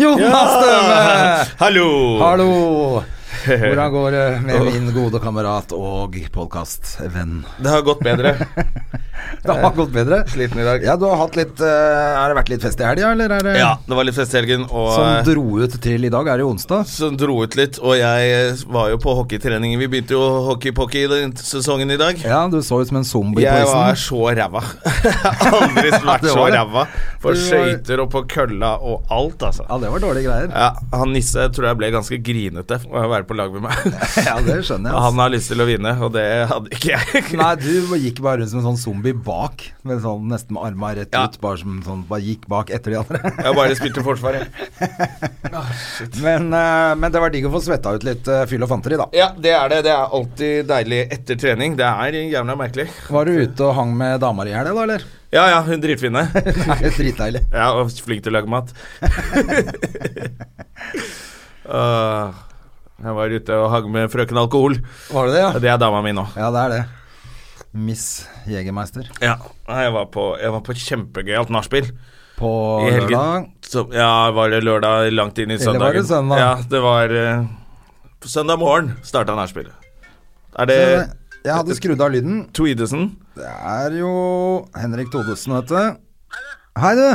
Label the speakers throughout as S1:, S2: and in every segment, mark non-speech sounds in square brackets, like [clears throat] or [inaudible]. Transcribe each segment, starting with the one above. S1: Jonas Døme!
S2: Hallo! Oh.
S1: Hallo! Hvordan går det
S2: [laughs]
S1: med min gode kamerat og podkastvenn?
S2: Det har gått bedre.
S1: [laughs]
S2: Eh,
S1: Det har gått bedre.
S2: Sliten i dag.
S1: Ja, du har hatt litt eh, Har det vært litt fest i helga, eller er det
S2: Ja, det var litt fest i helgen, og eh,
S1: Som dro ut til i dag, er det jo onsdag?
S2: som dro ut litt. Og jeg eh, var jo på hockeytrening. Vi begynte jo hockey-pocky den sesongen i dag.
S1: Ja, du så ut som en zombie på
S2: Jeg var
S1: isen.
S2: så ræva. [laughs] Jeg har Aldri vært
S1: det
S2: så
S1: var det.
S2: ræva. På
S1: Du var-
S2: skøyter og på kølla og alt, altså.
S1: Ja, det var dårlige greier.
S2: Ja, han Nisse tror jeg ble ganske grinete for å være på lag med [laughs] meg.
S1: [laughs] Ja, det skjønner jeg. ass.
S2: Han har lyst til å vinne, og det hadde ikke [laughs] jeg.
S1: [laughs] Nei, du gikk bare rundt som en sånn zombie bak, med sånn, nesten med arma rett
S2: Ja.
S1: ut, bare som sånn, bare gikk bak etter de andre.
S2: Jeg bare spilte forsvar, jeg.
S1: [laughs] Men, eh, men det var digg å få svetta ut litt eh, fyll og fanteri, da.
S2: Ja, det er det. Det er alltid deilig etter trening. Det er jævla merkelig.
S1: Var du ute og hang med dama di i helga, da,
S2: [laughs]
S1: eller?
S2: Ja ja, hun dritfine.
S1: Nei, dritdeilig.
S2: Ja, og flink til å lage [laughs] mat. Åh, Ah, jeg var ute og hang med frøken Alkohol.
S1: Var det det, ja?
S2: Det er dama mi nå.
S1: Ja, det er det. Miss Jegermeister.
S2: Ja, jeg var på, jeg var på kjempegøyalt nachspiel.
S1: På
S2: I helgen.
S1: lørdag.
S2: Så, ja, var det lørdag langt inn i
S1: Eller
S2: søndagen?
S1: var det søndag?
S2: Ja, det var eh, på Søndag morgen starta nachspielet. Er det
S1: Eh, Jeg hadde skrudd av lyden.
S2: Tweedesen?
S1: Det er jo Henrik Todesen, vet du. Hei, du!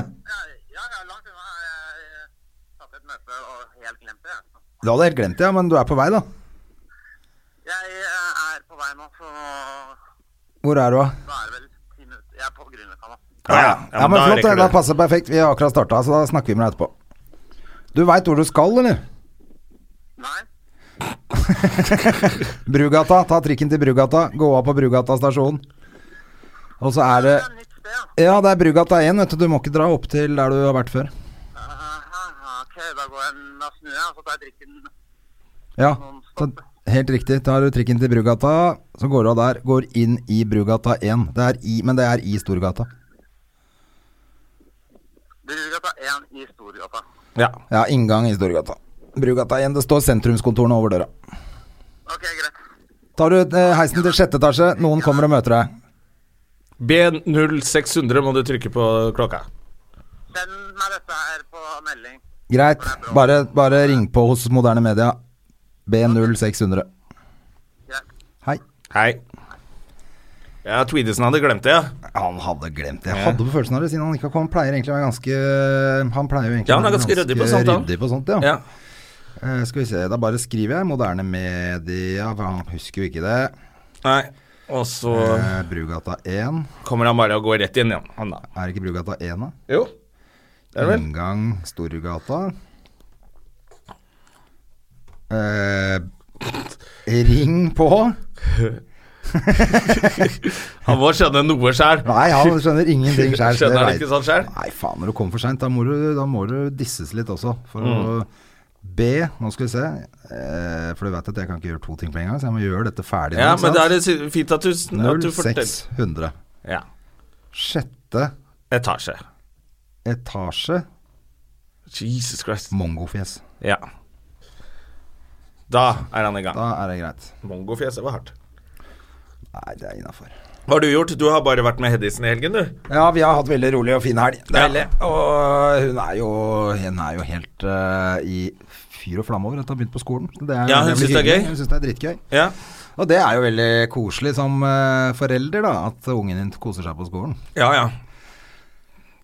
S1: Du hadde helt glemt det, ja, men du er på vei, da.
S3: Jeg eh, er på vei nå, så nå
S1: Hvor er du, da?
S3: er det vel ti minutter. Jeg er på Grünerløkka nå.
S2: Ja, ja. Ja,
S1: Ja,
S2: men
S1: men
S2: da
S1: flott,
S2: rekker
S1: det.
S2: du
S1: Da
S2: det.
S1: passer perfekt. Vi har akkurat starta, så da snakker vi med deg etterpå. Du veit hvor du skal,
S2: [laughs]
S1: eller?
S3: Nei,
S1: Brugata. Ta trikken til Brugata. Gå av på Brugata stasjon. Og så er det
S3: det er et nytt sted.
S1: Ja, det er Brugata 1, vet du. Du må ikke dra opp til der du har vært før.
S3: Aha, ok, da går jeg da snur jeg, og så tar jeg drikken.
S1: Ja, så helt riktig. Tar du trikken til Brugata, så går du av der. Går inn i Brugata 1. Det er i, men det er i Storgata.
S3: Brugata 1 i Storgata.
S2: Ja.
S1: Ja, inngang i Storgata. Brugata 1. Det står sentrumskontorene over døra.
S3: Ok, greit.
S1: Tar du eh, heisen til sjette etasje, noen kommer og møter deg.
S2: B0600 må du trykke på klokka.
S3: Send meg dette her på melding.
S1: Greit. Bare, bare ring på hos Moderne Media. B0600.
S3: Greit.
S1: Hei.
S2: Hei. Ja, Tweedesen hadde glemt det, ja.
S1: Han hadde glemt det. Jeg hadde på følelsen av det, siden han ikke har kommet. Han pleier egentlig å være ganske Han pleier jo egentlig
S2: Ja,
S1: å
S2: han er
S1: være
S2: ganske ryddig på sånt, han.
S1: ryddig på sånt, ja.
S2: ja.
S1: Eh, skal vi se, da bare skriver jeg moderne media, for han husker jo ikke det.
S2: Nei. Og så
S1: Eh, Brugata 1.
S2: kommer han bare og går rett inn igjen, han da. Mm.
S1: Er det ikke Brugata 1, da?
S2: Jo. Det er det vel.
S1: Inngang Storgata. Eh, ring på.
S2: Han må skjønne noe sjæl.
S1: Nei, han skjønner ingenting
S2: [laughs]
S1: sjøl.
S2: Skjønner han ikke sånn selv?
S1: Nei, faen, når du kommer for seint, da, må du- da må du disses litt også. For å
S2: Mm.
S1: be Nå skal vi se. Eh, for du vet at jeg kan ikke gjøre to ting på en gang, så jeg må gjøre dette ferdig. nå,
S2: Ja,
S1: ikke
S2: men det
S1: sant?
S2: er litt fint at du, at du forteller
S1: 0600.
S2: Ja.
S1: Sjette
S2: Etasje.
S1: etasje
S2: Jesus Christ.
S1: mongofjes.
S2: Ja. Da er han i gang.
S1: Da er det greit.
S2: Mongofjeset var hardt.
S1: Nei, det er innafor.
S2: Hva har du gjort? Du har bare vært med Hedisen i helgen, du.
S1: Ja, vi har hatt veldig rolig og fin helg.
S2: Ja.
S1: Deilig. Og hun er jo, hun er jo helt eh, i fyr og flamme over at hun har begynt på skolen. Så Det er,
S2: Ja, hun
S1: blir
S2: synes det er
S1: hyggelig.
S2: gøy.
S1: Hun syns det er dritgøy.
S2: Ja.
S1: Og det er jo veldig koselig som eh, forelder, da, at ungen din koser seg på skolen.
S2: Ja, ja.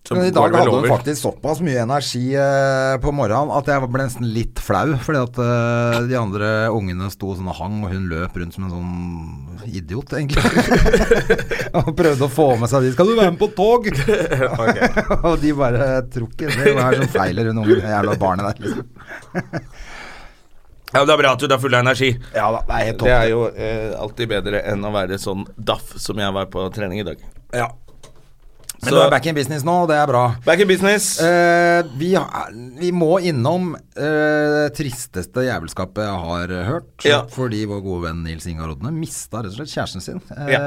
S2: Så
S1: Men i
S2: går
S1: dag
S2: det vel
S1: hadde hun
S2: over. [laughs]
S1: faktisk såpass mye energi eh, på morgenen at jeg ble nesten litt flau, fordi at eh, de andre ungene sto sånn og hang, og hun løp rundt som en sånn idiot, egentlig. [laughs] og prøvde å få med seg de 'Skal du være med på tog?' [laughs] og de bare tror ikke det. Hva er det som feiler hun ungen, det jævla barnet der? Liksom.
S2: Ja, men Det er bra at du er full av energi.
S1: Ja da, det er helt topp.
S2: Det er jo eh, alltid bedre enn å være sånn daff som jeg var på trening i dag.
S1: Ja. Men du er back in business nå, og det er bra.
S2: Back in business.
S1: Eh, vi, har- vi må innom eh, tristeste jævelskapet jeg har hørt.
S2: Ja.
S1: Fordi vår gode venn Nils Ingar Odne mista rett og slett kjæresten sin eh,
S2: Ja.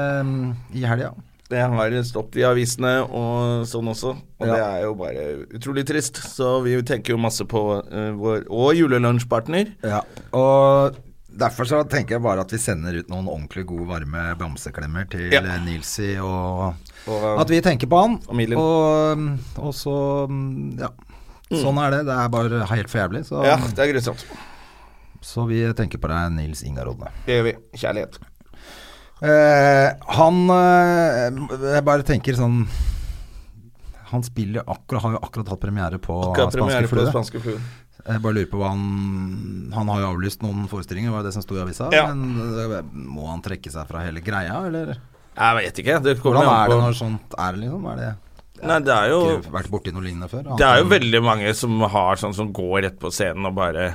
S1: i helga.
S2: Det har stått i avisene og sånn også, og
S1: Ja.
S2: det er jo bare utrolig trist. Så vi tenker jo masse på eh, vår Og julelunsjpartner.
S1: Ja. Og derfor så tenker jeg bare at vi sender ut noen ordentlig gode, varme bamseklemmer til
S2: Ja.
S1: eh, Nilsi, og,
S2: Og,
S1: at vi tenker på han.
S2: familien.
S1: Og, um, og så um, Ja. Sånn er det. Det er bare helt for jævlig. Så,
S2: Mm. Ja, det er grusomt.
S1: så vi tenker på deg, Nils Ingar Odne.
S2: Det gjør vi. Kjærlighet.
S1: Eh, han eh, Jeg bare tenker sånn Han spiller akkurat, har jo akkurat hatt premiere på
S2: Akkurat
S1: Spanske
S2: premiere på
S1: flue.
S2: Spanske flue.
S1: Jeg bare lurer på hva han Han har jo avlyst noen forestillinger, var det det som sto i avisa?
S2: Ja.
S1: Men eh, må han trekke seg fra hele greia, eller?
S2: Jeg vet ikke. Det kommer
S1: Hvordan er det
S2: an på
S1: når sånt er, liksom? Er det
S2: Nei, det er jo
S1: ikke vært borti noe lignende før?
S2: Det er jo veldig mange som har sånn som går rett på scenen og bare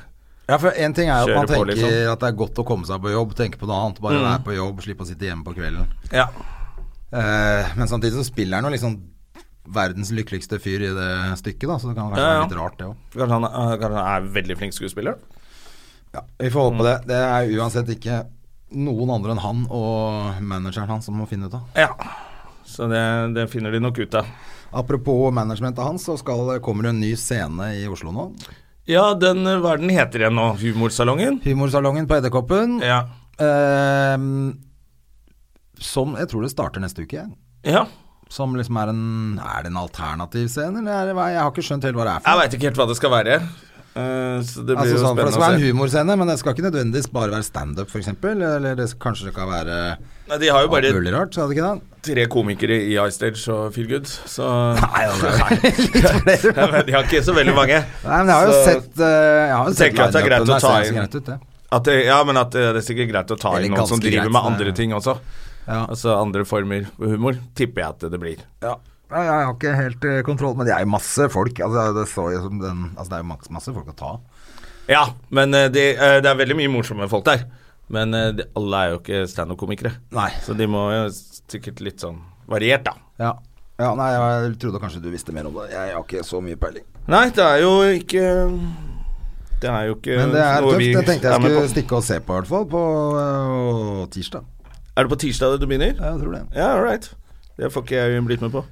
S1: Ja, for en ting er jo at man
S2: Kjører på, liksom. Mm.
S1: tenker at det er godt å komme seg på jobb, tenke på noe annet, bare være på jobb, slippe å sitte hjemme på kvelden.
S2: Ja.
S1: Eh, men samtidig så spiller han jo liksom verdens lykkeligste fyr i det stykket, da, så det kan kanskje
S2: Ja, ja.
S1: være litt rart, det òg.
S2: Kanskje han, er- kanskje han er veldig flink skuespiller?
S1: Ja, vi
S2: Mm.
S1: får holde på det. Det er uansett ikke noen andre enn han og manageren hans som må finne ut av.
S2: Ja. Så det, det finner de nok ut av.
S1: Apropos managementet hans, så skal, kommer det en ny scene i Oslo nå.
S2: Ja, den eh, Hva er den heter igjen nå? Humorsalongen?
S1: Humorsalongen på Edderkoppen.
S2: Ja.
S1: Ehm, som jeg tror det starter neste uke. jeg.
S2: ja.
S1: Som liksom er en Er det en alternativ scene, eller er det hva? Jeg har ikke skjønt helt hva det er for
S2: Jeg
S1: noe.
S2: veit ikke helt hva det skal være. Eh, så det blir
S1: Altså,
S2: jo
S1: sånn, for det
S2: spennende
S1: skal være
S2: å
S1: en
S2: se.
S1: humorscene, men det skal ikke nødvendigvis bare være standup, f.eks. Eller det, kanskje det kan være
S2: Nei, de har jo
S1: alt
S2: bare
S1: mulig rart, skal det ikke det?
S2: tre komikere i Ice Stage og Feel Good, så
S1: Nei, ja, det er litt
S2: [laughs]
S1: flere.
S2: Men De har ikke så veldig mange.
S1: Nei, men jeg har jo
S2: Så-
S1: sett eh, Jeg har jo sett
S2: tenker jeg at det er greit å
S1: lineupen, ser
S2: ta
S1: ganske
S2: inn-
S1: greit ut, det.
S2: At det, ja, men at eh, det er sikkert greit å ta
S1: Eller
S2: inn noen som
S1: ganske
S2: driver
S1: greit,
S2: med
S1: det-
S2: andre ting også.
S1: Ja.
S2: Altså andre former for humor, tipper jeg at det blir.
S1: Nei, Jeg har ikke helt eh, kontroll, men det er jo masse folk. Altså, det, så jo som den, altså, det er jo maks- masse folk å ta.
S2: Ja, men eh, det, eh, det er veldig mye morsomme folk der. Men eh, de, alle er jo ikke standup-komikere.
S1: Nei.
S2: Så de må jo sikkert litt sånn variert, da.
S1: Ja. ja, nei, jeg trodde kanskje du visste mer om det. Jeg har ikke så mye peiling.
S2: Nei, det er jo ikke Det er jo ikke
S1: Men det er
S2: noe
S1: tøft.
S2: vi
S1: Jeg tenkte
S2: er
S1: jeg
S2: med
S1: skulle
S2: på.
S1: stikke og se på, i hvert fall. På øh, tirsdag.
S2: Er det på tirsdag det du begynner?
S1: Ja, Jeg tror det.
S2: Ja, all right. Det får ikke jeg blitt med på.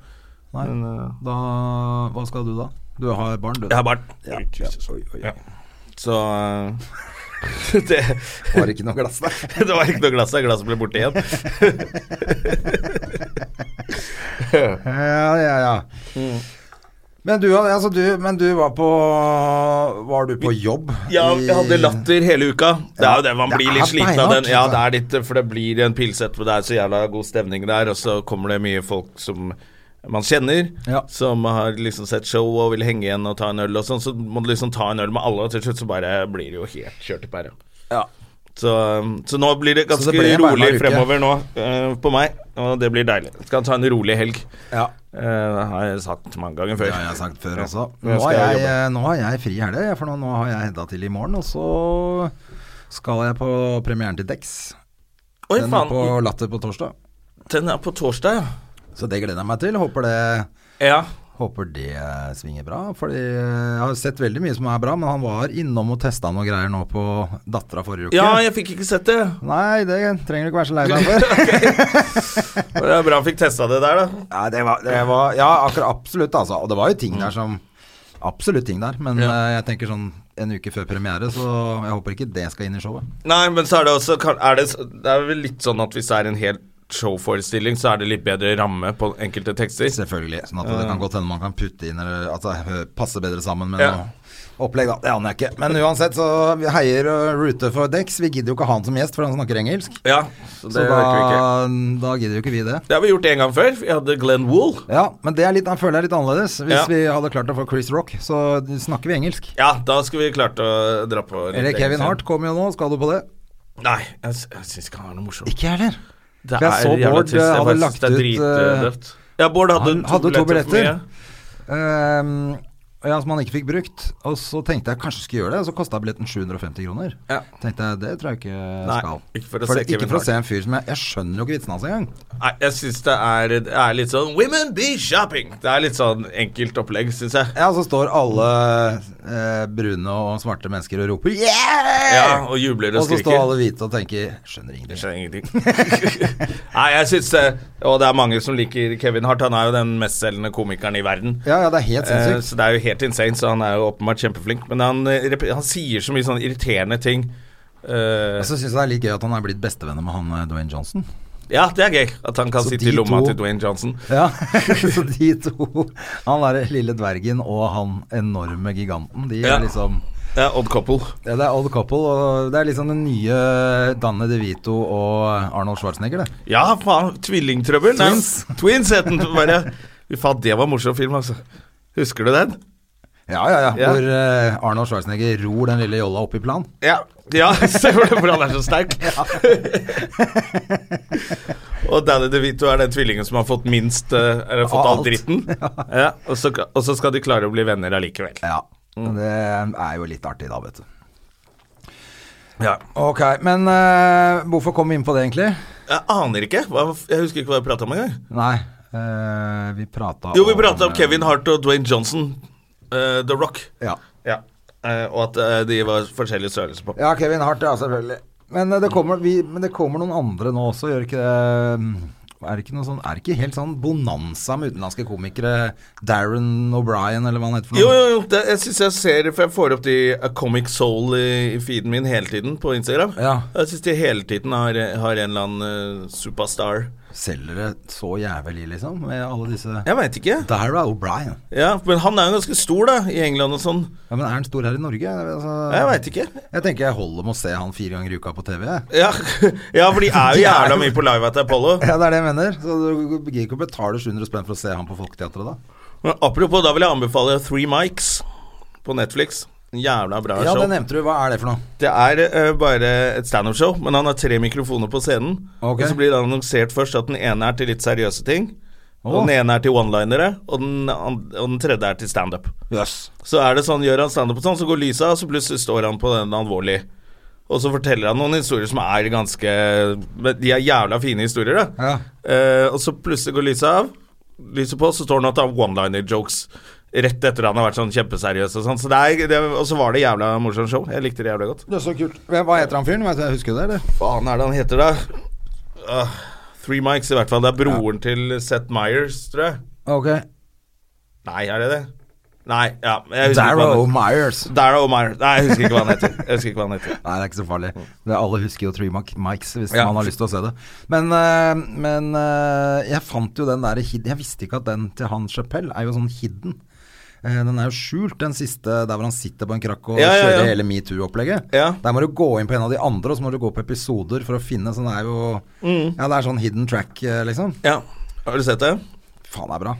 S1: Nei.
S2: Men eh,
S1: Da Hva skal du da? Du har barn, du.
S2: jeg har barn.
S1: Ja,
S2: Oi,
S1: ja.
S2: Jesus.
S1: Oi, oi, oi.
S2: Ja. Så eh, [laughs] det,
S1: Var det ikke noe glass der?
S2: [laughs] det var ikke noe glass der. Glasset ble borte
S1: [laughs]
S2: igjen.
S1: Ja, ja, ja.
S2: Mm.
S1: Men, du, hadde- altså, du, men du var på Var du på jobb?
S2: Ja, jeg hadde latter hele uka. Det er jo det, man
S1: Det
S2: blir
S1: er
S2: litt sliten av
S1: beinhardt,
S2: den. Ja,
S1: altså.
S2: det er litt, for det blir en pils etterpå, det er så jævla god stemning der, og så kommer det mye folk som man kjenner,
S1: Ja.
S2: som har liksom sett show og vil henge igjen og ta en øl og sånn, så må du liksom ta en øl med alle, og til slutt så bare blir det jo helt kjørt i pæra. Så, så nå blir det ganske
S1: det ble en
S2: rolig
S1: beinhard uke.
S2: fremover nå eh, på meg, og det blir deilig. Skal ta en rolig helg.
S1: Ja.
S2: Eh, det har jeg sagt mange ganger før.
S1: Det har jeg sagt før
S2: Ja.
S1: også.
S2: Nå
S1: Nå
S2: skal
S1: har
S2: jeg
S1: jeg,
S2: jobbe.
S1: eh, nå har jeg fri helg, jeg, for nå, nå har jeg hedda til i morgen. Og så skal jeg på premieren til Dex.
S2: Oi,
S1: Den er
S2: faen.
S1: på Latter på torsdag.
S2: Den er på torsdag,
S1: Så det gleder jeg meg til. Håper det,
S2: ja. Ja.
S1: håper det eh, svinger bra. Fordi eh, jeg har sett veldig mye som er bra, men han var innom og testa noen greier nå på dattera forrige uke.
S2: Ja, jeg fikk ikke sett det.
S1: Nei, det trenger du ikke være så lei deg for.
S2: [laughs] Det er bra jeg fikk testa det der, da.
S1: Ja, det var, det var Ja, akkurat absolutt, altså. Og det var jo ting
S2: Mm.
S1: der som Absolutt ting der, men eh, jeg tenker sånn en uke før premiere, så jeg håper ikke det skal inn i showet.
S2: Nei, men så er det også kan- er det, s- det er vel litt sånn at hvis det er en hel showforestilling, så er det litt bedre ramme på enkelte tekster.
S1: Selvfølgelig. Sånn at det kan godt hende man kan putte inn eller altså, hø- passe bedre sammen med
S2: Eh. Ja.
S1: noe opplegg, da. Det aner jeg ikke. Men uansett, så vi heier og ruter for Dex. Vi gidder jo ikke ha han som gjest, for han snakker engelsk.
S2: Ja, så det
S1: Så da,
S2: orker vi ikke.
S1: da gidder jo ikke vi det.
S2: Det har vi gjort en gang før. Vi hadde Glenn Wool.
S1: Ja, men det er litt, jeg føler jeg er litt annerledes. Hvis
S2: Ja.
S1: vi hadde klart å få Chris Rock, så snakker vi engelsk.
S2: Ja, da skulle vi klart å dra på litt
S1: Eller Kevin
S2: engelsk.
S1: Hart kommer jo nå, skal du på det?
S2: Nei, jeg, s- jeg syns ikke han har noe morsomt.
S1: Ikke jeg heller.
S2: Det
S1: for jeg så
S2: jævla
S1: Bård, eh,
S2: trist. Jeg
S1: hadde
S2: bare
S1: lagt
S2: synes det er
S1: ut, eh,
S2: dritdøvt. Ja, Bård hadde,
S1: han hadde to
S2: for
S1: billetter.
S2: mye.
S1: Ehm, ja, som han ikke fikk brukt. Og så tenkte jeg kanskje jeg skulle gjøre det, og så kosta billetten 750 kroner.
S2: Ja.
S1: Tenkte jeg, Det tror jeg ikke jeg
S2: Nei,
S1: skal.
S2: ikke for å se
S1: For det- ikke
S2: Kevin
S1: for å
S2: Hart.
S1: se en fyr som jeg Jeg skjønner jo ikke vitsen hans engang.
S2: Nei, jeg syns det er, det er litt sånn Women be shopping! Det er litt sånn enkelt opplegg, syns jeg.
S1: Ja, så står alle eh, brune og svarte mennesker og roper 'yeah!'
S2: Ja, og jubler og
S1: og så
S2: skriker.
S1: står alle hvite og tenker 'skjønner
S2: Jeg
S1: ingenting'.
S2: skjønner ingenting. [laughs] Nei, jeg syns det Og det er mange som liker Kevin Hart. Han er jo den mestselgende komikeren i verden.
S1: Ja, ja, det er helt
S2: Eh,
S1: sinnssykt.
S2: Så det er jo helt insane, så han er jo åpenbart kjempeflink. Men han, eh, rep- han sier så mye sånn irriterende ting. Eh,
S1: Og så syns jeg det er litt gøy at han er blitt bestevenner med han eh, Dwayne Johnson.
S2: ja, det er gøy at han kan
S1: Så
S2: sitte
S1: de
S2: i lomma
S1: to-
S2: til Dwayne Johnson.
S1: Ja, [laughs] Så de to, han derre lille dvergen og han enorme giganten, de
S2: Ja.
S1: er liksom
S2: Ja, Odd Couple.
S1: ja, Det er old couple, og det er liksom den nye Danne DeVito og Arnold Schwarzenegger, det.
S2: Ja, faen. Tvillingtrøbbel. Nei,
S1: Twins.
S2: Twins het den. Bare. Fy faen, det var en morsom film, altså. Husker du den?
S1: Ja, ja, ja.
S2: Ja.
S1: Hvor eh, Arnold Schwarzenegger ror den lille jolla opp i plan.
S2: Ja. ja [laughs] Stemmer det, for han er så sterk. [laughs] og Danny DeVito er den tvillingen som har fått minst eh, Eller fått
S1: Av
S2: all
S1: alt. [laughs]
S2: dritten. Ja, og, så, og så skal de klare å bli venner allikevel.
S1: Ja. Det er jo litt artig da, vet du.
S2: Ja.
S1: Ok, men eh, hvorfor kom vi inn på det egentlig?
S2: Jeg aner ikke. Hva, jeg husker ikke hva jeg prata om engang.
S1: Nei, eh, vi prata
S2: Jo, vi prata om Kevin Hart og Dwayne Johnson, eh, The Rock.
S1: Ja.
S2: Ja. Eh, og at eh, de var forskjellige størrelser på.
S1: ja, Kevin Hart, ja, selvfølgelig. Men, eh, det kommer, vi, men det kommer noen andre nå også, gjør ikke det? Er det ikke, noe sånn, er det ikke helt sånn bonanza med utenlandske komikere? Darren O'Brien, eller hva han heter for noe?
S2: Jo, jo, jo. Det, jeg syns jeg ser For jeg får opp de A Comic Soul i, i feeden min hele tiden på Instagram.
S1: Ja.
S2: Jeg syns de hele tiden har, har en eller annen eh, superstar.
S1: Selger det så jævlig, liksom, med alle disse
S2: Jeg veit ikke.
S1: Darren O'Brien.
S2: Ja, Men han er jo ganske stor, da, i England og sånn.
S1: Ja, men er han stor her i Norge? Altså,
S2: Jeg veit ikke.
S1: Jeg tenker jeg holder med å se han fire ganger i uka på TV. jeg.
S2: Ja, [laughs] ja, for [laughs] de er jo
S1: De er
S2: jævla
S1: jo-
S2: mye på live at Apollo.
S1: Ja, det er det jeg mener. Så du gidder ikke å betale 700 spenn for å se han på Folketeatret, da?
S2: Men apropos, da vil jeg anbefale Three Mics på Netflix. En Jævla bra
S1: Ja,
S2: show.
S1: det nevnte du. Hva er det for noe?
S2: Det er eh, bare et standup-show, men han har tre mikrofoner på scenen. Og
S1: Ok.
S2: så blir det annonsert først at den ene er til litt seriøse ting. Og
S1: Åh.
S2: den ene er til one-linere, og, den an- og den tredje er til standup.
S1: Jøss.
S2: Så er det sånn, gjør han standup og sånn, så går lyset av, så plutselig står han på den alvorlige. Og så forteller han noen historier som er ganske men De er jævla fine historier, da.
S1: Ja.
S2: Eh, og så plutselig går lyset av, lyset på, så står han og tar one-liner-jokes. Rett etter han har vært sånn kjempeseriøs og sånn. Så det er, det, og så var det jævla morsomt show. Jeg likte det jævla godt.
S1: Det er så kult. Hvem- Hva heter han fyren? Vet du, jeg husker det, eller?
S2: Faen er det han heter, da? Ah, Three Mics, i hvert fall. Det er broren til Seth Meyers, tror jeg.
S1: Ok.
S2: Nei, er det det? Nei, ja. Jeg husker ikke hva
S1: Darrow
S2: han heter.
S1: Myers.
S2: Darrow Meyer. Nei, jeg husker ikke hva han heter. Jeg husker ikke hva han heter.
S1: Nei, det er ikke så farlig. Det er, alle husker jo Three Mic- Mics hvis
S2: Ja.
S1: man har lyst til å se det. Men, eh, men eh, jeg fant jo den derre hid- Jeg visste ikke at den til han Chapell er jo sånn hidden. Eh, Den er jo skjult, den siste der hvor han sitter på en krakk og
S2: Ja, ja, ja.
S1: kjører hele metoo-opplegget.
S2: Ja.
S1: Der må du gå inn på en av de andre, og så må du gå på episoder for å finne. Så det er jo Ja, det er sånn hidden track, eh, liksom.
S2: Ja, Har du sett det?
S1: Faen, det er bra.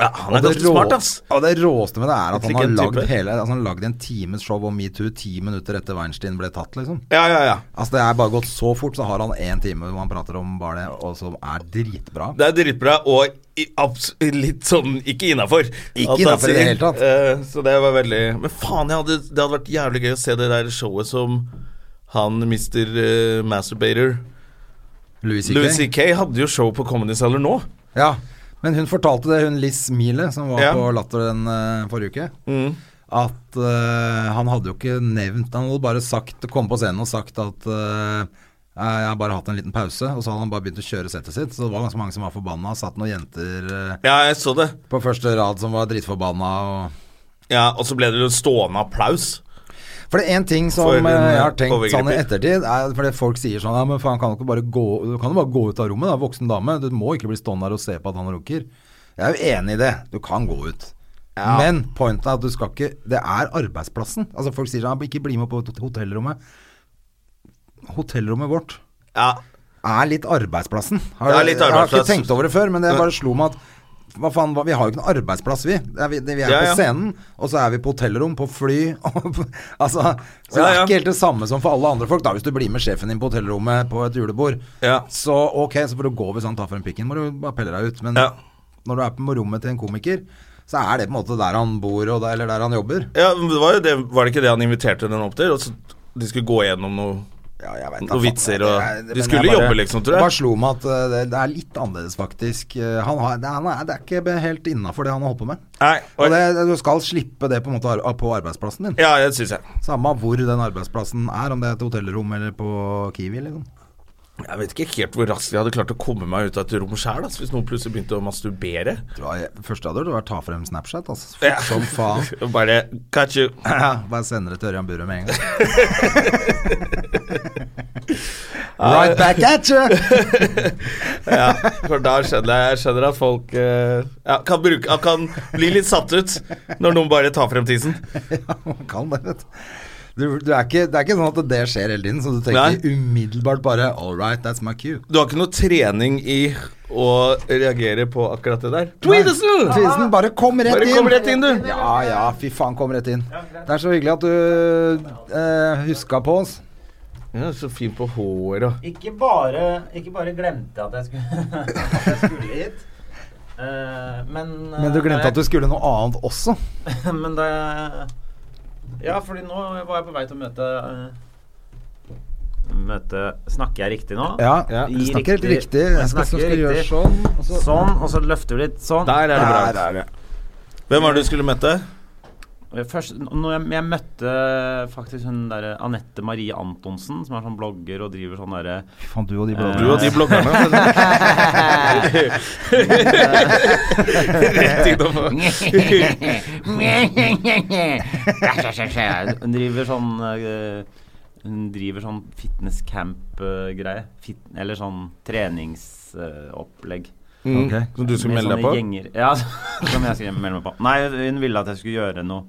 S2: Ja, han er
S1: Og det
S2: ganske
S1: rå-
S2: smart, ass.
S1: Og det råeste med det er
S2: Litt
S1: at han
S2: lik
S1: har
S2: en
S1: lagd
S2: type.
S1: hele altså Han har lagd en times show om metoo ti minutter etter Weinstein ble tatt, liksom.
S2: Ja, ja, ja.
S1: Altså Det er bare gått så fort, så har han én time hvor han prater om bare det, og som er dritbra.
S2: Det er dritbra, og i, abs litt sånn ikke innafor.
S1: Ikke innenfor i det hele tatt.
S2: Eh, så det var veldig Men faen, jeg hadde, det hadde vært jævlig gøy å se det der showet som han Mr. eh, Masturbator
S1: Louis
S2: Louis
S1: C.K.
S2: C.K. hadde jo show på Comedy Cellar nå.
S1: Ja. Men hun fortalte det, hun Liss Miele, som var
S2: Ja. Mm.
S1: på Latter den eh, forrige uke, at eh, han hadde jo ikke nevnt Han hadde bare sagt kommet på scenen og sagt at eh, jeg har bare hatt en liten pause, og så hadde han bare begynt å kjøre settet sitt. Så det var ganske mange som var forbanna. Satt noen jenter eh,
S2: Ja, jeg så det.
S1: på første rad som var dritforbanna. Og...
S2: Ja, Og så ble det jo stående applaus.
S1: For det er én ting som
S2: For
S1: eh,
S2: en,
S1: jeg har
S2: eh,
S1: tenkt sånn i
S2: overgriper.
S1: ettertid, er fordi folk sier sånn Ja, men faen, kan du ikke bare gå, du kan jo bare gå ut av rommet, da, voksen dame. Du må ikke bli stående her og se på at han runker. Jeg er jo enig i det. Du kan gå ut. Men pointen er at du skal ikke Det er arbeidsplassen. Altså Folk sier sånn «Ja, Ikke bli med på hot- hotellrommet. Hotellrommet vårt
S2: Ja,
S1: er litt arbeidsplassen. Har,
S2: Det er litt
S1: Jeg har
S2: arbeidsplass.
S1: ikke tenkt over det før, men det bare slo meg at hva faen, hva, vi har jo ikke noen arbeidsplass, vi. Det er, vi, det, vi er
S2: Ja,
S1: på
S2: ja.
S1: scenen, og så er vi på hotellrom, på fly [laughs] og på, Altså, så det
S2: Ja,
S1: er
S2: ja.
S1: ikke helt det samme som for alle andre folk. Da Hvis du blir med sjefen din på hotellrommet på et julebord,
S2: Ja.
S1: så sånn, ok, så får du gå hvis han tar frem pikken, må du bare pelle deg ut. Men
S2: Ja.
S1: når du er på rommet til en komiker, så er det på en måte der han bor og der, eller der han jobber.
S2: Ja, men det var, jo det, var det ikke det han inviterte den opp til? Og så de skulle gå gjennom noe
S1: Ja, jeg vet da
S2: Noen
S1: faen,
S2: vitser
S1: jeg-
S2: og-
S1: jeg-
S2: de
S1: men
S2: skulle
S1: jeg bare-
S2: jobbe liksom, tror jeg.
S1: Bare slo meg at eh, det, det er litt annerledes, faktisk. Eh, Han har, det, han er, det er ikke be- helt innafor det han har holdt på med.
S2: Nei,
S1: Og
S2: og,
S1: det, du skal slippe det på en måte ar- på arbeidsplassen din.
S2: Ja, det syns jeg.
S1: Samme hvor den arbeidsplassen er, om det er et hotellrom eller på Kiwi. Liksom.
S2: Jeg vet ikke helt hvor raskt jeg hadde klart å komme meg ut av et rom sjæl hvis noen plutselig begynte å masturbere.
S1: Det var, første jeg hadde gjort, var å ta frem Snapchat. Altså. Fort
S2: Ja.
S1: som faen.
S2: [laughs] Og Bare catch you.
S1: Bare sender det til Ørjan Burøe med en gang.
S2: [laughs]
S1: right back at you!
S2: Ja, for da skjønner jeg, jeg skjønner at folk eh, ja, kan, bruke, ja, kan bli litt satt ut når noen bare tar frem tissen.
S1: ja, man kan det, vet du. Du, du er ikke, det er ikke sånn at det skjer hele tiden, så du
S2: Nei.
S1: tenker umiddelbart bare All right, that's my cue.
S2: Du har ikke noe trening i å reagere på akkurat det der.
S1: Tvisen, bare kom rett
S2: Bare
S1: inn!
S2: kom rett inn, du.
S1: Ja ja, fy faen, kom rett inn. Det er så hyggelig at du eh, huska på oss.
S2: Ja, så fin på håret og
S4: Ikke bare, ikke bare glemte at jeg skulle, [laughs] at jeg skulle hit. eh, men eh,
S1: Men du
S4: da
S1: glemte at du skulle noe annet også.
S4: jeg, [laughs] Men da jeg Ja, fordi nå var jeg på vei til å møte eh, Møte Snakker jeg riktig nå?
S1: Ja,
S2: Ja.
S1: du snakker helt riktig.
S4: Jeg
S1: Jeg skal,
S4: snakker
S1: skal du gjøre
S4: riktig.
S1: sånn, og så
S4: Sånn, og så løfter du litt sånn.
S2: Der er det bra. Hvem var det du skulle møte?
S4: Først, når jeg, jeg møtte faktisk hun derre Anette Marie Antonsen, som er sånn blogger og driver sånn derre
S1: Fy faen, du og de
S2: Du og de bloggerne. Rett innom.
S4: Hun driver sånn eh, Hun driver sånn fitnesscamp-greie. Fit, eller sånn treningsopplegg.
S2: Mm.
S1: Ok.
S2: Som du skulle melde deg på?
S4: Gjenger. Ja, [laughs] som jeg skulle melde meg på. Nei, hun ville at jeg skulle gjøre noe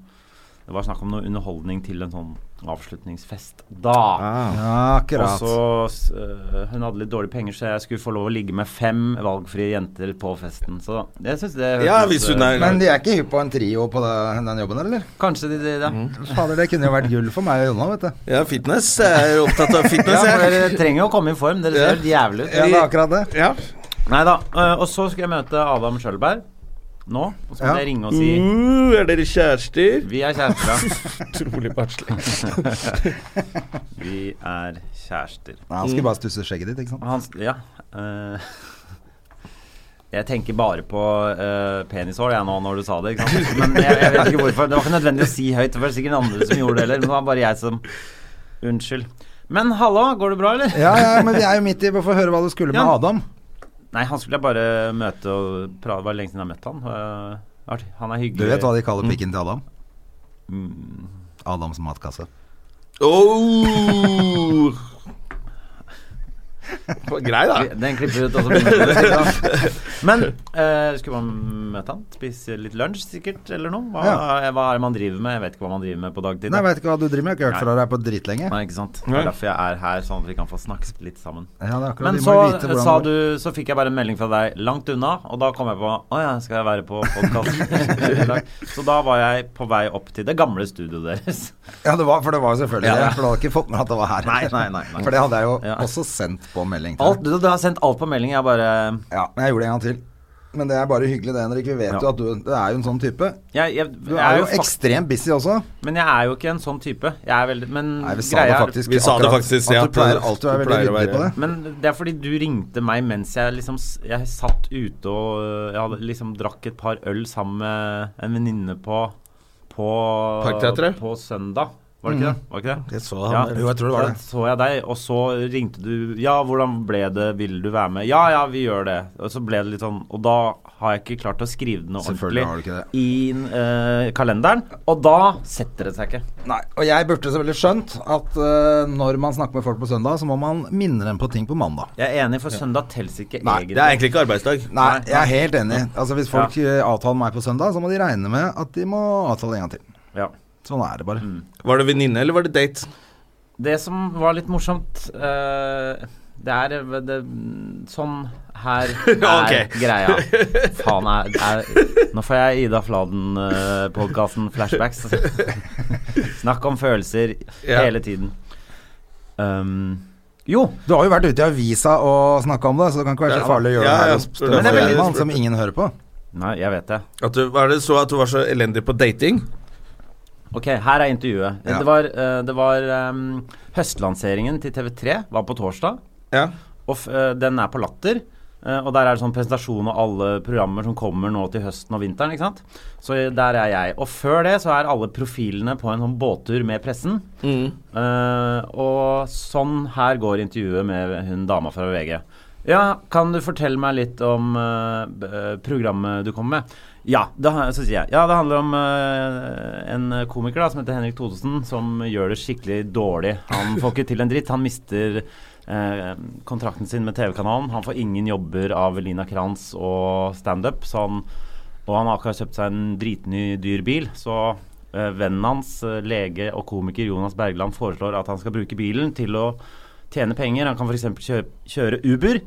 S4: Det var snakk om noe underholdning til en sånn avslutningsfest. Da
S2: Ah,
S1: Ja,
S4: og
S1: akkurat.
S4: så s- øh, Hun hadde litt dårlige penger, så jeg skulle få lov å ligge med fem valgfrie jenter på festen. Så jeg synes det
S2: Ja,
S4: hørtes,
S2: hvis hun
S4: øh,
S2: er
S1: Men de er ikke hypp på en trio på det- den jobben, eller?
S4: Kanskje de, de, de.
S1: Fader, det kunne jo vært gull for meg og Jonna, vet du.
S2: Ja, fitness. Jeg er opptatt av
S4: Ja,
S2: fitness,
S4: for
S2: jeg.
S4: dere trenger jo å komme i form. Dere ser helt jævlig ut.
S1: Ja, det er akkurat det.
S2: Ja.
S4: Nei da. øh, Og så skal jeg møte Adam Schjølberg nå. Og så skal
S1: Ja. Mm.
S4: jeg ringe og si
S2: Uh, er dere kjærester?
S4: Vi er kjærester. da. [laughs]
S2: Utrolig barnslig.
S4: Vi er kjærester.
S1: Nei, han skulle bare stusse skjegget ditt, ikke sant.
S4: Og han s- Ja. øh, [laughs] jeg tenker bare på øh, penishår jeg nå når du sa det. Ikke sant? Men jeg, jeg vet ikke hvorfor. Det var ikke nødvendig å si høyt. Det var sikkert andre som gjorde det heller. Men det var bare jeg som Unnskyld. Men hallo, går det bra, eller?
S1: Ja, ja, men vi er jo midt i Få høre hva du skulle med
S4: Ja.
S1: Adam.
S4: Nei, han skulle jeg bare møte og prate. Det var lenge siden jeg har møtt han. Øh, artig. han er hyggelig. Mm.
S1: Du vet hva de kaller pikken til Adam? Adams matkasse.
S2: Oh. Det var Grei, da.
S4: Den klipper vi ut, og så begynner vi med det.
S1: [laughs]
S4: Men eh, skulle man møte han? Spise litt lunsj, sikkert? Eller noe? Hva, hva er det man driver med? Jeg vet ikke hva man driver med på dagtid.
S1: Nei,
S4: da.
S1: jeg vet ikke hva du driver med. Jeg har ikke hørt fra deg på dritlenge.
S4: Nei, ikke sant? Det er derfor jeg er her, sånn at vi kan få snakket litt sammen.
S1: Ja, det er akkurat
S4: Men
S1: vi
S4: så,
S1: må vite hvordan
S4: sa
S1: det
S4: du, så fikk jeg bare en melding fra deg langt unna, og da kom jeg på Å ja, skal jeg være på
S1: [laughs]
S4: podkast? så da var jeg på vei opp til det gamle studioet deres.
S1: går. Ja, det var, for det var jo selvfølgelig
S4: Ja.
S1: det. For du hadde ikke fått med at det var her.
S4: Nei, nei, nei, nei.
S1: For det hadde jeg jo
S4: Ja.
S1: også sendt på melding. til
S4: Alt,
S1: deg.
S4: du, du har sendt alt på melding, jeg bare
S1: Ja, men jeg gjorde det en gang til. Men det er bare hyggelig det, Henrik. Vi vet
S4: Ja.
S1: jo at du, du er jo en sånn type.
S4: jeg, jeg,
S1: Du
S4: jeg
S1: er jo
S4: fakt-
S1: ekstremt busy også.
S4: Men jeg er jo ikke en sånn type. Jeg er veldig Men
S1: Nei, vi sa
S4: greia
S1: det
S4: er-
S1: faktisk.
S2: vi sa det
S1: akkurat,
S2: faktisk, ja,
S1: At du pleier alltid å
S2: du
S1: være veldig
S2: pleier å
S1: ryddig på
S2: være-
S1: det.
S4: Men det er fordi du ringte meg mens jeg liksom s- Jeg satt ute og øh, Jeg hadde liksom drakk et par øl sammen med en venninne på På
S2: Parkteatret?
S4: På søndag. Var det ikke det? Var det ikke det?
S2: Jeg så han der.
S1: Jo, jeg tror Mhm. det var
S4: Da
S1: det.
S4: så jeg deg, og så ringte du Ja, hvordan ble det? Vil du være med? Ja, ja, vi gjør det. Og så ble det litt sånn Og da har jeg ikke klart å skrive det noe
S1: Selvfølgelig
S4: ordentlig
S1: har du ikke det.
S4: i øh, kalenderen, og da setter det seg ikke.
S1: Nei, og jeg burde selvfølgelig skjønt at eh, når man snakker med folk på søndag, så må man minne dem på ting på mandag.
S4: Jeg er enig, for søndag teller ikke
S1: Nei,
S4: egentlig.
S2: Det er egentlig ikke arbeidsdag.
S1: Nei, jeg er helt enig. Altså Hvis folk eh, avtaler meg på søndag, så må de regne med at de må avtale en gang til.
S4: Ja.
S1: Sånn er det bare.
S2: Var det venninne, eller var det date?
S4: Det som var litt morsomt eh, Det er eh, det, Sånn
S2: [laughs]
S4: her er
S2: Ok.
S4: greia. Faen, er, er, nå får jeg Ida Fladen-podkasten flashbacks.
S2: [laughs]
S4: Snakk om følelser
S2: Ja.
S4: hele tiden. Um, jo,
S1: Du har jo vært ute i avisa og snakka om det, så det kan ikke være så farlig å gjøre
S2: Ja,
S1: det
S2: ja.
S1: her
S2: Men
S1: og
S2: det
S1: støve
S2: er veldig-
S1: gjennom han som ingen hører på.
S4: Nei, jeg vet det.
S2: At du, var det så at du var så elendig på dating?
S4: Ok, her er intervjuet.
S2: Ja.
S4: Det var, eh, det var ehm, høstlanseringen til TV3 var på torsdag,
S2: Ja.
S4: og f eh, den er på Latter. eh, og der er det sånn presentasjon av alle programmer som kommer nå til høsten og vinteren. ikke sant? Så der er jeg. Og før det så er alle profilene på en sånn båttur med pressen. Eh, og sånn her går intervjuet med hun dama fra VG. Ja, kan du fortelle meg litt om eh, b- eh, programmet du kommer med? Ja, det, ha- så sier jeg. Ja, det handler om eh, en komiker da, som heter Henrik Thodesen, som gjør det skikkelig dårlig. Han får ikke til en dritt. Han mister eh, kontrakten sin med TV-kanalen. Han får ingen jobber av Lina Kranz og standup, så han og han har akkurat kjøpt seg en dritny dyr bil, så eh, vennen hans, eh, lege og komiker Jonas Bergland, foreslår at han skal bruke bilen til å tjene penger. Han kan f.eks. Kjøre, kjøre Uber,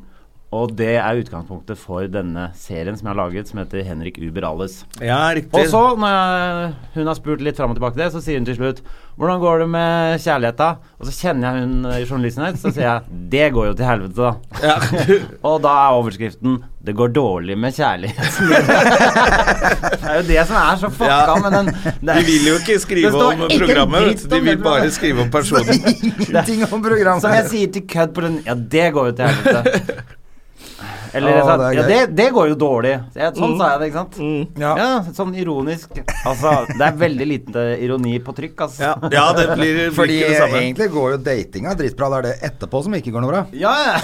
S4: og det er utgangspunktet for denne serien som jeg har laget, som heter 'Henrik Uber Alles'.
S2: Ja, riktig.
S4: Og så, når jeg, hun har spurt litt fram og tilbake det, så sier hun til slutt 'Hvordan går det med kjærligheta?' Og så kjenner jeg hun eh, journalisten her, så sier jeg 'Det går jo til helvete', da.
S2: ja.
S4: [laughs] Og da er overskriften 'Det går dårlig med
S2: [laughs]
S4: kjærlighet'. det er jo det som er så fucka
S2: Ja.
S4: med den det
S2: [laughs] De
S4: er-
S2: vil jo ikke skrive
S4: Det står
S2: om
S4: ikke en
S2: programmet, vet
S4: dritt
S2: du.
S4: om
S2: de vil
S4: det
S2: bare
S4: programmet.
S2: skrive om
S4: [laughs]
S2: personen.
S1: Ingenting om programmet.
S4: Som jeg sier til kødd på den Ja, det går jo
S2: [laughs]
S4: til helvete. Eller
S1: Å,
S4: jeg sa,
S1: det er
S4: Ja,
S1: gøy.
S4: det, det går jo dårlig. Så jeg-
S2: Mm.
S4: Sånn sa jeg det, ikke sant?
S1: Ja.
S4: Ja, sånn ironisk. Altså, det er veldig lite ironi på trykk, altså.
S2: Ja, ja det blir blir
S1: Fordi
S2: ikke det samme.
S1: egentlig går jo datinga dritbra. Det er det etterpå som ikke går noe bra.
S4: Ja, ja.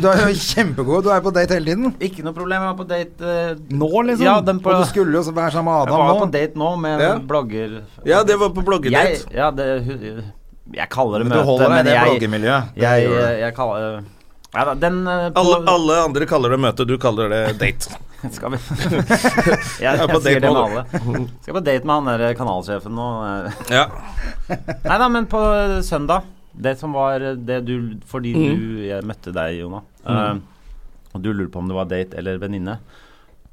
S1: Du er jo kjempegod. Du er på date hele tiden.
S4: Ikke noe problem. Jeg var på date eh,
S1: Nå, liksom.
S4: Ja, den på,
S1: Og du skulle jo så være sammen med
S4: jeg var
S1: Adam
S4: på
S1: nå.
S4: date nå med
S2: Ja.
S4: en blogger
S2: Ja, det var på bloggedate.
S4: Jeg, ja, det, hu- jeg kaller det
S1: Men du
S4: møte,
S1: holder deg i
S4: men
S1: det
S4: jeg,
S1: bloggemiljøet. Det
S4: jeg, eh,
S1: gjør du.
S4: jeg kaller ja, da, den eh, på,
S2: Alle, alle andre kaller det møte, du kaller det date.
S4: Skal
S1: [laughs]
S4: vi [laughs] Jeg, jeg,
S2: på date
S4: sier det med
S2: med
S4: alle. Skal på date med han der kanalsjefen nå. eh.
S2: Ja.
S4: Nei da, men på søndag. Det som var det du Fordi du Jeg møtte deg, Jona. eh, og du lurte på om det var date eller venninne.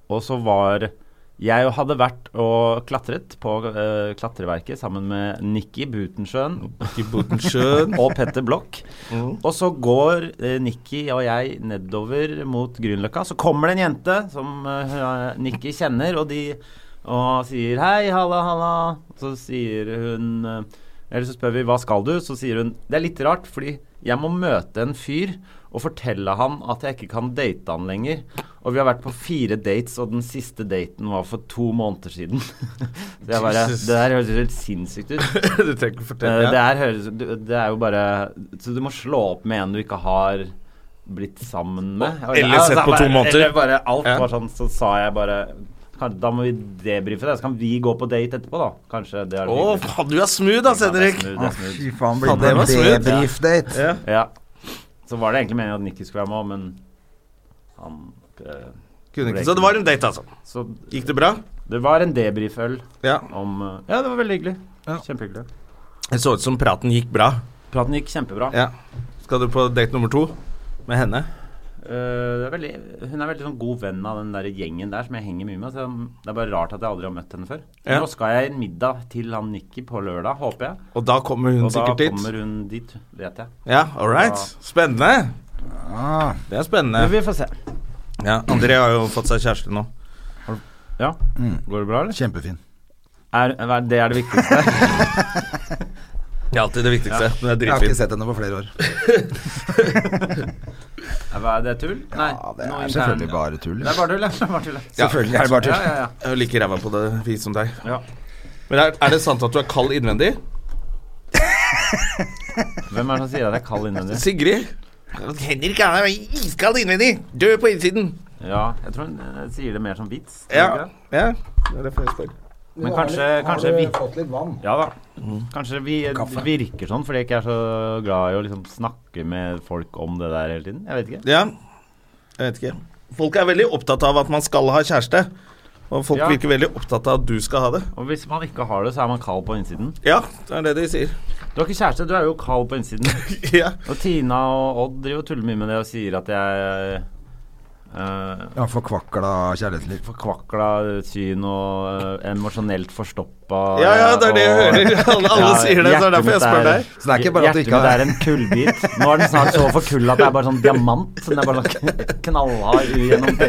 S4: Og så var Jeg hadde vært og klatret på eh, klatreverket sammen med Nikki Butensjøen
S2: I Botensjøen.
S4: [laughs] og Petter Blokk. Og så går eh, Nikki og jeg nedover mot Grünerløkka. Så kommer det en jente som eh, Nikki kjenner, og de og sier 'hei, halla, halla'. Så sier hun eh, Eller så spør vi 'hva skal du?' Så sier hun 'det er litt rart, fordi jeg må møte en fyr' og fortelle han at jeg ikke kan date han lenger. Og vi har vært på fire dates, og den siste daten var for to måneder siden. [laughs] Så jeg bare
S2: Jesus.
S4: Det her høres helt sinnssykt ut.
S2: [laughs] Du trenger ikke fortelle.
S4: Eh, Det,
S2: Ja.
S4: er, høres, du- det er jo bare Så du må slå opp med en du ikke har blitt sammen med.
S2: Eller sett på
S4: altså bare-
S2: to måneder.
S4: Eller bare alt
S2: Ja.
S4: var sånn, så sa jeg bare kan, Da må vi debrife det, så kan vi gå på date etterpå, da. Kanskje det er
S2: Å, faen, du er smooth, ass,
S4: Ja, det er
S2: Henrik.
S4: smooth, det
S1: Å,
S4: er smooth.
S1: Fy faen, blir
S2: Ja,
S1: det
S2: det var
S1: en
S2: smooth.
S1: debrief-date?
S2: Ja.
S4: Ja. Så var det egentlig meningen at Nikki skulle være med òg, men han eh,
S2: Kunne ikke. Så det var en date, altså.
S4: Så
S2: Gikk det bra?
S4: det var en debriføl
S2: Ja.
S4: om eh, Ja, det var veldig hyggelig. Kjempehyggelig.
S2: Det så ut som praten gikk bra.
S4: Praten gikk kjempebra.
S2: Ja. Skal du på date nummer to med henne?
S4: Eh, det er veldig, hun er veldig sånn god venn av den der gjengen der som jeg henger mye med. Så det er bare rart at jeg aldri har møtt henne før.
S2: Ja.
S4: Nå skal jeg en middag til han Nikki på lørdag, håper jeg.
S2: Og da kommer hun
S4: Og da
S2: sikkert dit.
S4: kommer hun dit, vet jeg.
S2: Ja, all right. Spennende.
S1: Ah.
S2: Det er
S4: Men
S2: spennende.
S4: vi får se.
S2: Ja, André har jo fått seg kjæreste nå.
S4: Ja.
S2: Mm.
S4: Går det bra, eller?
S1: Kjempefin.
S4: Er, er, det er det viktigste.
S2: Det er alltid det viktigste. Hun er
S1: Jeg har ikke
S2: dritfin.
S1: sett henne på flere år.
S4: [laughs] Hva er det tull? Nei.
S1: Ja, det
S4: noe
S1: er
S4: intern-
S1: selvfølgelig bare tull.
S4: Det er bare tull, ja. Det er Bare tull. ja.
S1: Selvfølgelig er det bare
S4: Ja,
S1: tull.
S4: ja, ja.
S2: Jeg er jo like ræva på det vis som deg.
S4: Ja.
S2: Men er, er det sant at du er kald innvendig?
S4: Hvem er det som sier at jeg er kald innvendig?
S2: Sigrid? Henrik er iskald innvendig. Død på innsiden.
S4: Ja, jeg tror hun eh, sier det mer som vits. tror du
S2: Ja.
S4: ikke det?
S2: ja. Det er derfor jeg spør.
S4: Men kanskje, kanskje vi
S1: fått litt vann?
S4: Ja da. Kanskje vi det virker sånn fordi jeg ikke er så glad i å liksom snakke med folk om det der hele tiden. Jeg vet ikke.
S2: Ja. Jeg vet ikke. Folk er veldig opptatt av at man skal ha kjæreste. Og folk
S4: Ja.
S2: virker veldig opptatt av at du skal ha det.
S4: Og hvis man ikke har det, så er man kald på innsiden.
S2: Ja, det er det de sier.
S4: Du har ikke kjæreste, du er jo kald på innsiden.
S2: [laughs]
S4: [laughs]
S2: ja.
S4: Og Tina og Odd driver og tuller mye med det og sier at jeg Eh,
S1: Ja, forkvakla kjærlighetsliv.
S4: Forkvakla syn og eh, emosjonelt forstoppa
S2: Ja, ja, det er det jeg
S4: og-
S2: hører. [laughs] Alle- alle sier det, så det er
S4: hjertet
S2: derfor jeg
S4: mitt
S2: spør deg.
S1: Så det er ikke bare at du
S4: hjertet
S1: ikke
S4: mitt
S1: har-
S4: er en kullbit. Nå er den snart så forkulla at det er bare sånn diamant. Den er bare sånn [laughs] kn- knallhard,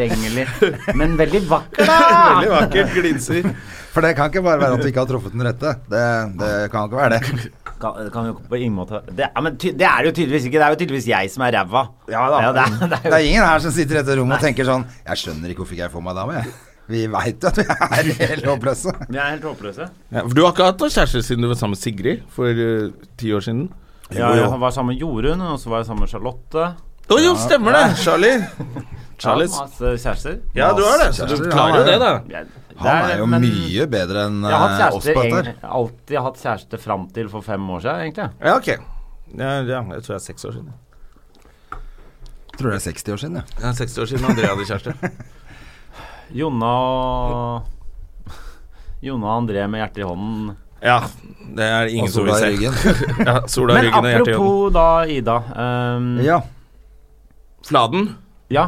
S4: ugjennomtrengelig. Men veldig vakker, da!
S2: [laughs] Veldig vakkert, glinser.
S1: For det kan ikke bare være at du ikke har truffet den rette. Det, det kan ikke være
S4: [laughs]
S1: det.
S4: Kan, det kan jo på ingen måte det er, men ty, det er det jo tydeligvis ikke. Det er jo tydeligvis jeg som er ræva. det, er, [laughs] det,
S1: Det
S4: er
S1: er
S4: jo,
S1: ingen her som sitter i dette rommet og tenker sånn Jeg skjønner ikke hvorfor ikke jeg får meg dame, jeg. Vi veit jo at vi er
S4: [laughs]
S1: helt håpløse.
S4: vi er helt håpløse.
S2: Ja, for du har ikke hatt noen kjæreste siden du var sammen med Sigrid for eh, ti år siden?
S4: Ja, jeg var sammen med Jorunn, og så var jeg sammen med Charlotte.
S2: Å jo, stemmer det! [laughs] Charlie. Charles.
S4: Ja, masse kjærester.
S2: Ja, du har det. Så du
S1: Charlie,
S2: klarer
S1: han
S2: jo
S1: er-
S2: det, da.
S4: Jeg-
S1: Han
S4: det
S1: er jo
S4: men-
S1: mye bedre enn
S4: Jeg har hatt
S1: eh, oss
S4: kjærester,
S1: på dette. her.
S4: egentlig- alltid hatt kjæreste fram til for fem år siden, egentlig.
S2: Ja, ok. Ja, ja, jeg tror jeg er seks år siden.
S1: Tror det er 60 år siden, ja.
S2: Ja, seks år siden André hadde kjæreste.
S4: Jonna og Jonna og André med hjertet i hånden.
S2: [laughs] Ja, det er
S1: Og
S2: ingen som vil
S1: sola i
S2: se.
S1: ryggen.
S2: Ja, sola i
S4: Men
S2: ryggen og hjertet i hånden.
S4: apropos da Ida. ehm,
S1: Ja.
S4: ja.
S2: Fladen. Ja.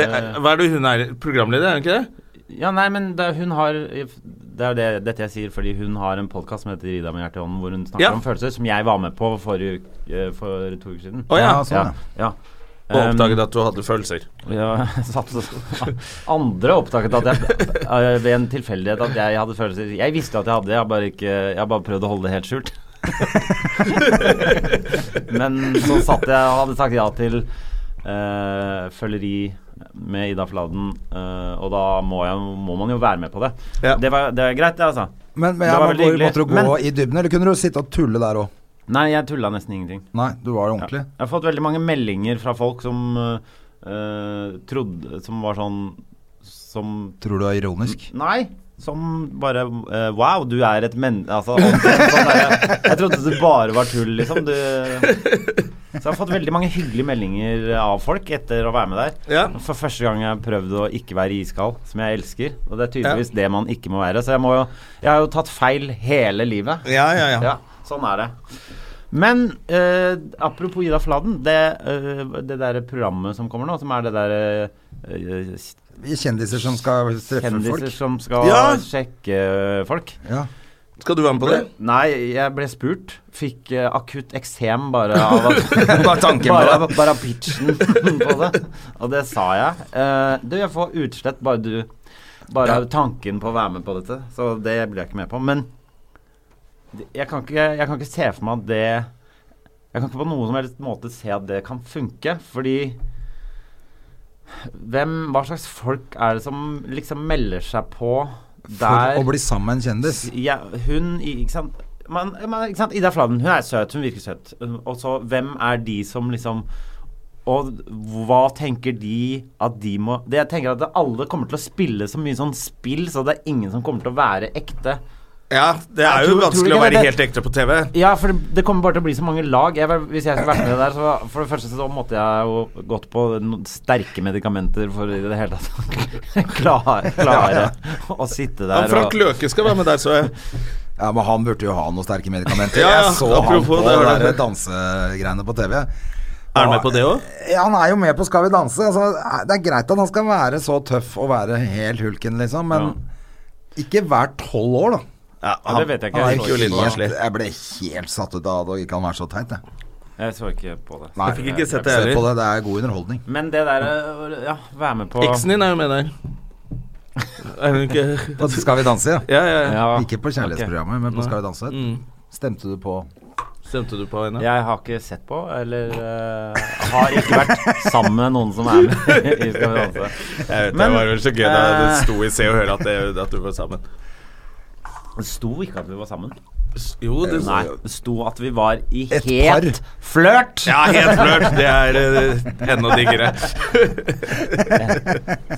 S2: Det er,
S4: Eh.
S2: hva er det hun er? Programleder, er hun ikke det?
S4: ja, nei, men det, hun har Det er det, dette jeg sier fordi hun har en podkast som heter Ida med hjertet i hånden, hvor hun snakker
S2: Ja.
S4: om følelser, som jeg var med på forrige uke, eh, for to uker siden.
S2: Å ja.
S1: Ja, sånn, ja.
S4: ja.
S2: Og
S4: Ehm,
S2: oppdaget at du hadde følelser.
S4: Ja, [laughs] satt, andre oppdaget at jeg eh, ved en tilfeldighet at jeg hadde følelser. Jeg visste at jeg hadde det, jeg har bare, ikke, jeg har bare prøvd å holde det helt skjult. [laughs] Men så satt jeg og hadde sagt ja til eh, følgeri med Ida Fladen, eh, og da må, jeg, må man jo være med på det.
S2: Ja.
S4: Det, var, det er greit, det, altså.
S1: Men, men
S4: Det
S1: jeg
S4: var
S1: må,
S4: veldig
S1: hvor,
S4: hyggelig.
S1: måtte du gå
S4: Men-
S1: i dybden, eller kunne du sitte og tulle der òg?
S4: Nei, jeg tulla nesten ingenting.
S1: Nei, du var ordentlig.
S4: Jeg har fått veldig mange meldinger fra folk som eh, eh, trodde Som var sånn Som
S1: Tror du er ironisk?
S4: Nei, som bare eh, Wow, du er et men... Altså, omtrent sånn der, jeg trodde du bare var tull, liksom. Du, så jeg har fått veldig mange hyggelige meldinger av folk etter å være med der.
S2: Ja.
S4: For første gang har jeg prøvd å ikke være iskald, som jeg elsker. Og det er tydeligvis det man ikke må være. Så jeg, må jo, jeg har jo tatt feil hele livet.
S2: Ja, ja, ja.
S4: Ja, sånn er det. Men eh, apropos Ida Fladen, det, eh, det derre programmet som kommer nå, som er det derre eh,
S2: Mm.
S1: Kjendiser som skal treffe
S4: kjendiser
S1: folk?
S4: som skal
S2: Ja.
S4: sjekke folk.
S1: Ja.
S2: Skal du være med på det?
S4: Nei, jeg ble spurt. Fikk eh, akutt eksem bare av at
S2: [laughs] Bare tanken på
S4: bare,
S2: det.
S4: bare av pitchen [laughs] på det. Og det sa jeg. Eh, du, jeg får utslett bare du Bare av tanken på å være med på dette. Så det blir jeg ikke med på. Men det- jeg kan ikke, jeg kan ikke se for meg at det Jeg kan ikke på noen som helst måte se at det kan funke, fordi hvem, Hva slags folk er det som liksom melder seg på der
S1: For å bli sammen med en kjendis?
S4: ja, hun i- Ikke sant? Men, men, ikke sant? Ida Fladen, hun er søt. Hun virker søt. Og så, hvem er de som liksom Og hva tenker de at de må det Jeg tenker at det- alle kommer til å spille så mye sånn spill, så det er ingen som kommer til å være ekte.
S2: Ja, det
S4: Jeg
S2: er jo
S4: tror- tror
S2: vanskelig
S4: ikke
S2: å være helt
S4: det-
S2: ekte på TV.
S4: Ja, for det, det kommer bare til å bli så mange lag. Jeg, var- hvis jeg skulle vært med der, så for det første så måtte jeg jo gått på noen sterke medikamenter for i det hele tatt [laughs] klare, klare å sitte der
S2: Han Frank Løke skal være med der, så jeg.
S1: Ja, men han burde jo ha noen sterke
S2: [laughs]
S1: medikamenter.
S2: Ja, ja,
S1: Jeg så han
S2: apropos
S1: på
S2: det, var
S1: det
S2: det.
S1: der dansegreiene på TV.
S2: Er han med på det òg?
S1: Ja, han er jo med på Skal vi danse. Altså, det er greit at han skal være så tøff og være helt hulken, liksom, men ikke hver tolv år, da.
S2: Ja,
S4: Ja, det vet jeg ikke.
S2: Han
S4: Jeg
S2: virker jo litt
S1: Helt-
S2: barnslig.
S1: jeg ble helt satt ut av at det ikke kan være så teit, jeg.
S4: Jeg så ikke på det.
S1: Nei,
S2: Jeg fikk ikke sett det
S1: Se på
S2: heller.
S1: det, det er god underholdning.
S4: Men det derre Ja, være med på
S2: Eksen din er jo med der. Er hun ikke
S1: På Skal vi danse, ja.
S2: Ja, ja, ja. Mm.
S4: Ja.
S1: eh, Ikke på kjærlighetsprogrammet, men på Skal vi danse. Stemte du på
S2: Stemte du på henne?
S4: Jeg har ikke sett på, eller eh, har ikke vært sammen med noen som er med i Skal vi danse.
S2: Jeg vet,
S4: Men,
S2: det var vel så gøy da det
S4: eh,
S2: sto i Se og Hør at, det, at du var sammen.
S4: Det sto ikke at vi var sammen.
S2: Jo, det
S4: Nei, det sto at vi var i
S1: Et
S4: het
S1: par.
S4: flørt.
S2: Ja, helt flørt. [laughs] Det er eh, enda diggere.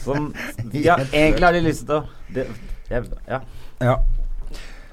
S1: [laughs]
S4: Som ja, egentlig har de lyst til å det, jeg, ja.
S1: Ja.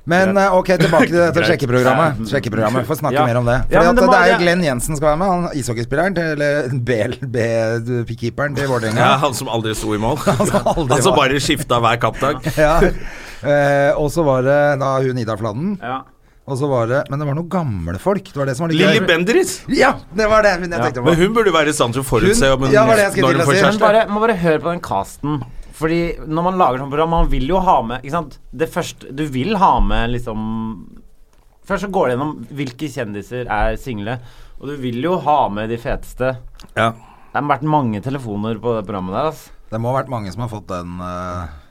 S1: Men eh, ok, tilbake til
S4: [laughs]
S1: dette sjekkeprogrammet. Sjekkeprogrammet, Få snakke
S4: Ja.
S1: mer om det. Fordi
S4: Ja, men
S1: at
S4: det
S1: det,
S4: må-
S1: er
S4: ja.
S1: jo Glenn Jensen skal være med. Han ishockeyspilleren til Eller [laughs] B-keeperen til Vålerenga.
S2: Ja,
S1: [laughs]
S2: han som aldri sto i mål.
S1: Han som aldri
S2: Han som
S1: var-
S2: bare skifta hver kappdag.
S1: Ja. Eh, og så var det da hun Ida Fladen.
S4: ja.
S1: Og så var det Men det var noen gamle folk. Det var det som var litt
S2: Lilly Bendriss!
S1: Ja, det var det hun jeg tenkte på.
S2: Men hun burde være i stand til å forutse
S1: Hun-
S2: om hun,
S1: ja, var det jeg skulle
S2: når
S1: til å
S2: hun får
S1: si.
S4: Men
S2: kjæreste.
S4: bare, man bare hør på den casten. Fordi når man lager sånn program, man vil jo ha med ikke sant? Det første, Du vil ha med liksom Først så går det gjennom hvilke kjendiser er single. Og du vil jo ha med de feteste.
S2: Ja.
S4: Det har vært mange telefoner på det programmet der. altså. ass.
S1: Det må ha vært mange som har fått den eh,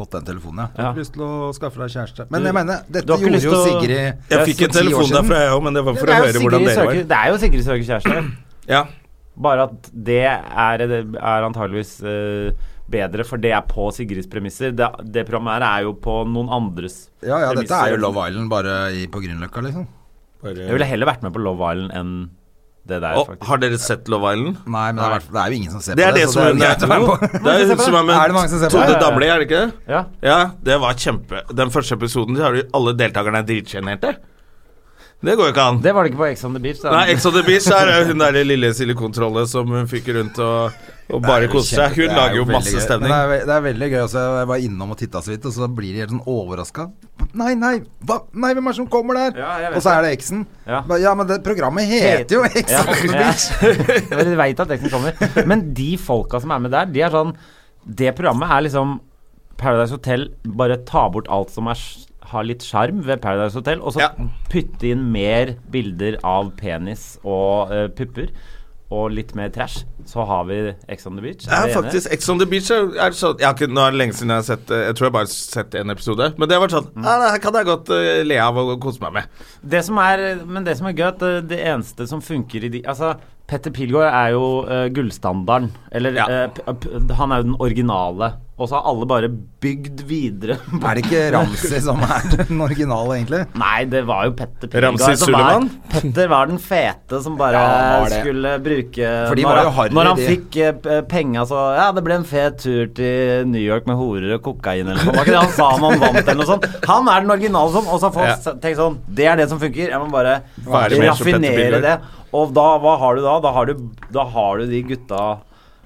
S1: Fått den telefonen, ja. Jeg har
S4: Ja.
S1: lyst til å skaffe deg kjæreste. Men jeg
S4: Du-
S1: mener,
S4: du
S1: dette
S4: har ikke
S1: gjorde
S4: lyst
S1: jo
S4: til å-
S1: Sigrid
S2: Jeg fikk en
S1: for ti år
S2: telefon
S1: siden.
S2: derfra, jeg òg, men det var for
S4: Det
S2: å
S4: er jo
S2: høre hvordan dere
S4: Sigrid
S2: var.
S4: søker- Det er jo Sigrid søker kjæreste.
S2: Ja.
S4: Bare at det er, er antageligvis eh, bedre, for det er på Sigrids premisser. Det, det programmet her er jo på noen andres
S1: Ja, ja, dette er jo
S4: premisser.
S1: Love Island bare i, på Grünerløkka, liksom.
S4: Jeg ville heller vært med på Love Island enn det der,
S2: Og,
S4: faktisk.
S2: har dere sett Love Island?
S1: Nei, men det er, i hvert fall- det er jo ingen som ser
S2: Det er
S1: på det.
S2: det
S1: så
S2: som
S1: det er jo greit å være
S2: jo, det
S1: på.
S2: er hun som er
S1: Er det mange
S2: med
S1: som ser på?
S2: Tode
S1: Ja, ja, ja.
S2: Damli, er det ikke det?
S4: Ja.
S2: Ja, det var kjempe Den første episoden så har jo alle deltakerne er dritsjenerte. Det går jo ikke an.
S4: Det var det ikke på Ex on the Beach. Da.
S2: Nei, Ex on the Beach er jo hun der lille silikontrollet som hun fikk rundt og, og bare koste seg. Hun lager jo masse stemning.
S1: Det er, ve- det er veldig gøy. Også. Jeg var innom og titta så vidt, og så blir de helt sånn overraska. Nei, nei, hva? nei, hvem er det som kommer der?
S4: Ja, jeg vet
S1: og så er det eksen.
S4: Ja.
S1: Ba- Ja, men det programmet heter jo Ex
S4: Ja,
S1: on the
S4: ja.
S1: Beach.
S4: Dere vet at teksten kommer. Men de folka som er med der, de er sånn Det programmet er liksom Paradise Hotel, bare ta bort alt som er, s- har litt sjarm ved Paradise Hotel, og så
S2: Ja.
S4: putte inn mer bilder av penis og eh, pupper. Og litt mer trash, så har vi Ex on the Beach.
S2: Ja,
S4: dere enige?
S2: faktisk. Ex on the Beach er, er sånn jeg har ikke, Nå er det lenge siden jeg har sett eh, Jeg tror jeg bare har sett en episode. Men det har vært sånn Ja, det her kan jeg godt eh, le av og kose meg med.
S4: Det som er, men det som er gøy, at det, det eneste som funker i de Altså, Petter Pilgaard er jo eh, gullstandarden. Eller
S2: Ja.
S4: eh, p- p- Han er jo den originale. Og så har alle bare bygd videre på
S1: Er det ikke
S4: [laughs]
S1: Ramsi som er den originale, egentlig?
S4: Nei, det var jo Petter Pilgaard.
S2: Ramses
S4: som var-
S2: Suleman?
S4: Petter var den fete som bare
S1: Ja, han var det.
S4: skulle bruke
S1: For de
S4: når,
S1: var jo
S4: han-
S1: harry,
S4: når han
S1: de.
S4: fikk eh, p- penga, så Ja, det ble en fet tur til New York med horer og kokain eller noe. Det var ikke det han sa når han vant eller noe sånt. Han er den originale som Og så har folk
S2: Ja.
S4: s- tenkt sånn Det er det som funker. Jeg må bare
S2: Være mer som Petter
S4: raffinere
S2: Pilgaard.
S4: det. Og da, hva har du da? Da har du, da har du de gutta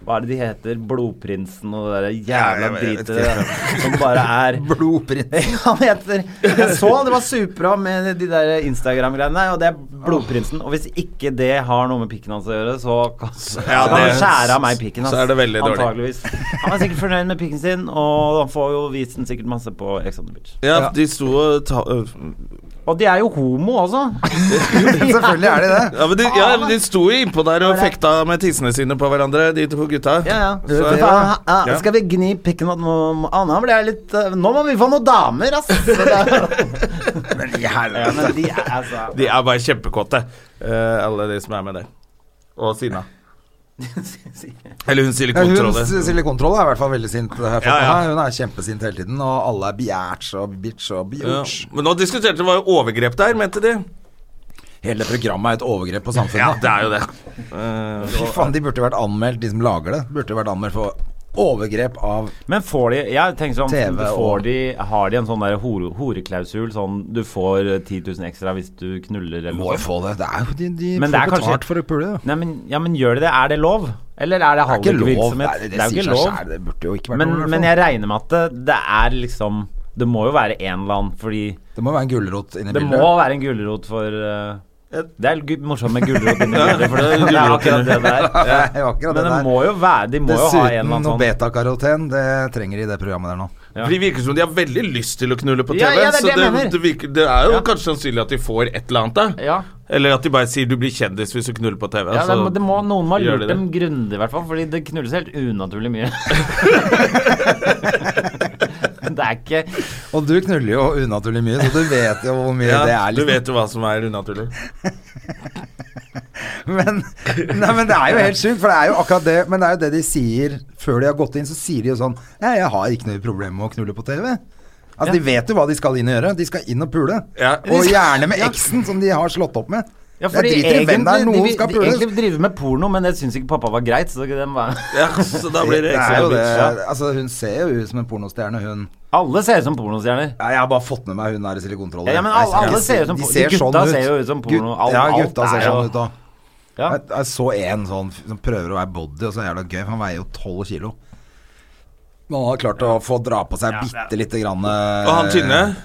S4: hva er det de heter? Blodprinsen og det der jævla
S2: Ja, jeg vet
S4: dritet som bare
S2: [laughs]
S4: er [laughs]
S1: Blodprins.
S4: han heter Jeg så det var superbra med de der Instagram-greiene, og det er Blodprinsen. Og hvis ikke det har noe med pikken hans å gjøre, så kan så
S2: Ja,
S4: kan
S2: det-
S4: du skjære av meg pikken hans.
S2: så er det veldig dårlig.
S4: Antageligvis. Han er sikkert fornøyd med pikken sin, og han får jo vist den sikkert masse på Ex on the Beach.
S2: Ja, de sto og ta, øh,
S4: Og de er jo homo også.
S1: [laughs] Selvfølgelig er de det.
S2: ja, men de,
S4: Ah.
S2: ja, men de sto jo innpå der og fekta med tissene sine på hverandre, de to gutta.
S4: Ja, ja.
S2: [laughs] Så-
S4: Så, faen, ja,
S2: Ja.
S4: Skal vi gni pikken at noe annet? Blir jeg litt eh, Nå må vi få noen damer,
S2: [laughs]
S4: ass! Så det er- Ja, men de er altså
S2: De er bare kjempekåte, eh, alle de som er med der. Og Sina.
S4: [laughs]
S2: Eller hun
S1: Ja, hun
S2: silikontrollet.
S1: silikontrolle er i hvert fall veldig sint. har jeg fått
S2: Ja, ja.
S1: med meg. Hun er kjempesint hele tiden, og alle er biatch og bitch og
S2: Ja.
S1: bjooch.
S2: Men nå diskuterte de hva overgrep der, mente de.
S1: Hele programmet er et overgrep på samfunnet.
S2: Ja, det er jo det.
S1: Fy faen, de burde vært anmeldt, de som lager det. Burde vært anmeldt for overgrep av
S4: Men får de Jeg tenker sånn
S1: TV og-
S4: får de, Har de en sånn der hore, horeklausul Sånn du får eh, 10 000 ekstra hvis du knuller eller
S1: Må
S4: noe
S1: jo
S4: sånt
S1: få det. Det er jo de, de får
S4: Men det er
S1: betalt
S4: kanskje-
S1: for å pule. Det
S4: Nei, men, ja, men gjør de det? Er det lov? Eller er det
S1: er ikke lov.
S4: halvvirksomhet?
S1: Nei, det, det sier seg selv. Det burde jo ikke vært
S4: Men,
S1: noe. i hvert
S4: men
S1: fall.
S4: jeg regner med at det, det er liksom Det må jo være en eller annen Fordi
S1: Det må være en gulrot inni
S4: det
S1: bildet.
S4: må være en gullerot for eh, Det er gu- morsomt med gullerot inni bildet
S1: [laughs]
S4: For det,
S2: Ja,
S4: det er
S2: gulrot
S4: akkurat det der
S1: Det er jo akkurat
S4: Men det
S1: det der.
S4: må jo være De må jo ha en eller
S1: Dessuten
S4: annen
S1: noe
S4: sånn
S1: betakaroten. Det trenger de i det programmet der nå.
S4: Ja.
S2: For De virker som de har veldig lyst til å knulle på TV.
S4: Ja, ja, det er
S2: så
S4: det jeg
S2: det,
S4: mener.
S2: det, virker, det er jo
S4: Ja.
S2: kanskje sannsynlig at de får et eller annet, da.
S4: Ja
S2: Eller at de bare sier 'du blir kjendis hvis du knuller på TV'.
S4: Ja,
S2: så-
S4: det må, det må, noen må ha
S2: Altså, gjør de
S4: lurt
S2: det.
S4: dem grundig, i hvert fall. Fordi det knulles helt unaturlig
S2: [laughs]
S4: mye. det er ikke
S1: Og du knuller jo unaturlig mye, så du vet jo
S4: [laughs]
S1: hvor mye
S2: ja,
S1: det er.
S2: Du
S1: liksom.
S2: vet jo hva som er unaturlig.
S1: [laughs] Men, nei, men det er jo helt sjukt, for det er jo akkurat det Men det er jo det de sier før de har gått inn, så sier de jo sånn Ja, jeg har ikke noe problem med å knulle på TV. Altså,
S4: Ja.
S1: De vet jo hva de skal inn og gjøre. De skal inn og pule.
S2: Ja.
S1: Og gjerne med eksen som de har slått opp med.
S4: ja, fordi
S1: jeg driter i hvem det er,
S4: egentlig-
S1: noen
S4: de,
S1: skal
S4: de,
S1: pules.
S4: egentlig driver med porno, men det syns ikke pappa var greit. Så det var,
S2: Ja, så da blir det
S1: Det er
S2: ekstra
S1: jo det.
S2: bitch. Ja.
S1: Altså, hun ser jo ut som en pornostjerne, hun.
S4: alle ser ut som pornostjerner.
S1: Ja, jeg har bare fått med meg hun der i silikontrollen.
S4: Ja, ja, men
S1: Jeg
S4: alle-
S1: skal
S4: alle
S1: ikke
S4: ser
S1: si-
S4: ut som
S1: de
S4: por- de gutta ser jo ut som porno.
S1: Gut-
S4: Alt-
S1: ja,
S4: alt
S1: gutta ser
S4: er jo-
S1: sånn ut òg.
S4: Ja.
S1: Jeg, jeg så en sånn f- som prøver å være body, og så er det jævla gøy, for han veier jo 12 kilo. Men han har klart å få dra på seg bitte lite grann
S2: Og han tynne?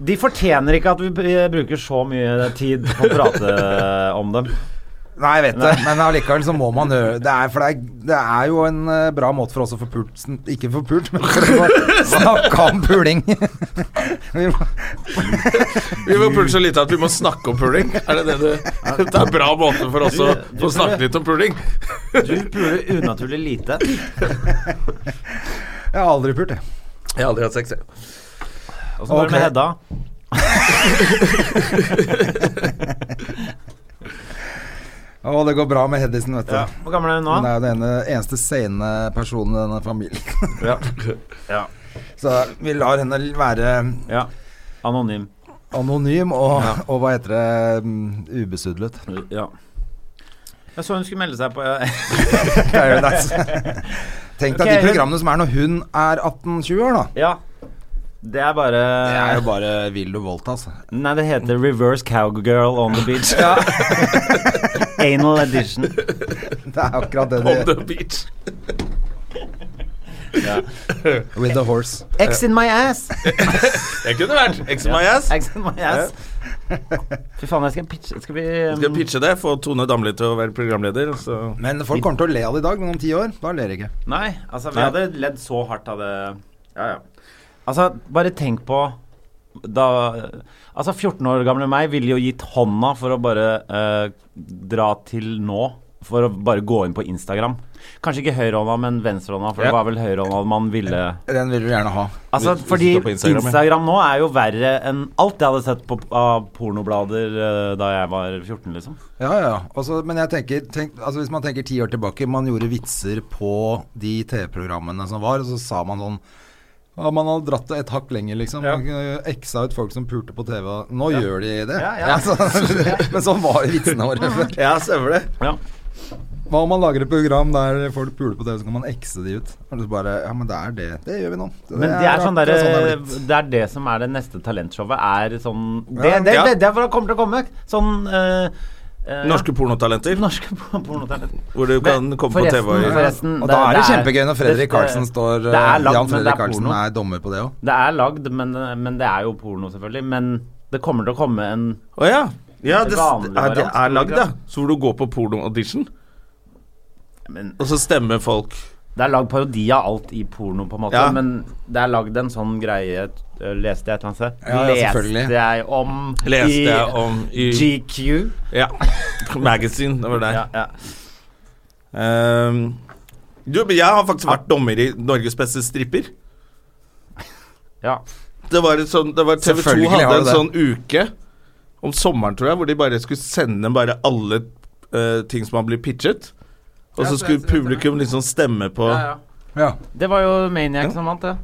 S4: De fortjener ikke at vi b- eh, bruker så mye tid på å prate eh, om dem.
S1: Nei, jeg vet det, men allikevel så må man gjøre det. Er, for det, er, det er jo en eh, bra måte for oss å få pult sn- Ikke få pult, men for å [laughs] snakke om puling. [laughs] Vi må-
S2: Vi må pule så lite at vi må snakke om puling. Er det det du Det er en bra måte for oss å få snakke litt om puling.
S4: Du puler unaturlig lite.
S1: Jeg har aldri pult, jeg.
S2: Jeg har aldri hatt sex, jeg.
S4: Åssen går det med Hedda?
S1: Å, det går bra med Hedison, vet du.
S4: Ja. Hvor gammel er hun
S1: Hun
S4: nå?
S1: er jo den ene- eneste sene personen i denne familien. [laughs]
S4: Ja. Ja.
S1: Så vi lar henne være
S4: ja. Anonym.
S1: anonym og, og hva heter det mm, [laughs] ubesudlet.
S4: Ja. Jeg så hun skulle melde seg på
S1: Paradise. Tenk deg
S4: Ok,
S1: de
S4: hun-
S1: programmene som er når hun er 18-20 år, da.
S4: Ja. Det er bare
S1: Det er jo bare Vil du voldta, altså.
S4: Nei, det heter Reverse Cowgirl on the Beach.
S1: [laughs]
S4: Anal
S2: [laughs]
S4: edition.
S1: Det er akkurat det
S2: On
S1: de
S2: the beach.
S1: With the horse.
S4: X in my ass.
S2: Jeg kunne vært ex my ass.
S4: X in my ass. Fy faen, jeg skal pitche Skal vi um,
S2: Skal jeg pitche det, få Tone Damli til å være programleder. Så.
S1: Men folk kommer til å le av det i dag, men om ti år, da ler de ikke.
S4: Nei, altså, vi hadde ledd så hardt av det Ja, ja. Altså, bare tenk på da Altså, 14 år gamle meg ville jo gitt hånda for å bare eh, dra til nå. For å bare gå inn på Instagram. Kanskje ikke høyrehånda, men venstrehånda, for
S2: Ja.
S4: det var vel høyrehånda man ville
S1: Den vil du gjerne ha.
S4: Altså,
S2: Hvis- hvis
S4: fordi
S2: du står på Instagram,
S4: Instagram,
S2: ja.
S4: nå er jo verre enn alt jeg hadde sett på, av pornoblader eh, da jeg var 14, liksom.
S1: Ja, ja. Altså, men jeg tenker, tenk, altså, hvis man tenker ti år tilbake, man gjorde vitser på de TV-programmene som var, og så sa man sånn ja, Man hadde dratt det et hakk lenger, liksom.
S4: Ja.
S1: Man kunne Eksa ut folk som pulte på TV. og Nå gjør de det.
S4: Ja, ja.
S1: [laughs] Altså, men sånn var vitsene våre før.
S2: Ja, stemmer det.
S4: Ja.
S1: Hva om man lager et program der folk puler på TV, så kan man ekse de ut? Og så bare Ja, men det er det. Det gjør vi nå.
S4: Men det er sånn
S1: akkurat
S4: derre
S1: det er blitt.
S4: Det er det som er det neste talentshowet. Er sånn Det,
S1: Ja.
S4: det,
S2: Ja.
S4: det, det er for det kommer til å komme. Sånn eh, eh, [laughs]
S2: Norske pornotalenter.
S4: Norske por- pornotalenter.
S2: Hvor du kan
S4: Men
S2: komme på TV og
S4: forresten- forresten,
S1: Og da er det,
S4: er-
S1: kjempegøy når
S4: det-
S1: Fredrik Karlsen står eh,
S4: det er lagd,
S1: Jan
S4: men det
S1: Fredrik
S4: er
S1: Karlsen
S4: porno.
S1: er dommer på det òg.
S4: Det er lagd, men, men det er jo porno, selvfølgelig. Men det kommer til å komme en
S2: Å ja. Ja, det,
S4: Vanlig
S2: er, det er
S4: variant.
S2: lagd, ja. Så hvor du går på porno-audition,
S4: men
S2: og så stemmer folk.
S4: Det er lagd parodi av alt i porno, på en måte,
S2: Ja.
S4: men det er lagd en sånn greie øh, Leste jeg et eller annet sted?
S1: Ja, ja, selvfølgelig.
S4: Leste jeg om
S2: Leste
S4: i
S2: jeg om i
S4: GQ?
S2: Ja. Magazine. Det var der.
S4: Ja, ja.
S2: Ehm, du, men jeg har faktisk vært dommer i Norges beste stripper.
S4: ja.
S2: Det var, et sånn- det var TV 2
S1: Selvfølgelig
S2: hadde
S1: har
S2: en
S1: du
S2: sånn uke om sommeren, tror jeg, hvor de bare skulle sende bare alle eh, ting som hadde blitt pitchet. Og
S4: Ja,
S2: så
S4: så
S2: skulle
S4: jeg- jeg-
S2: publikum liksom stemme på
S4: ja, ja.
S1: Ja.
S4: Det var jo Maniac
S2: Ja.
S4: som vant, det.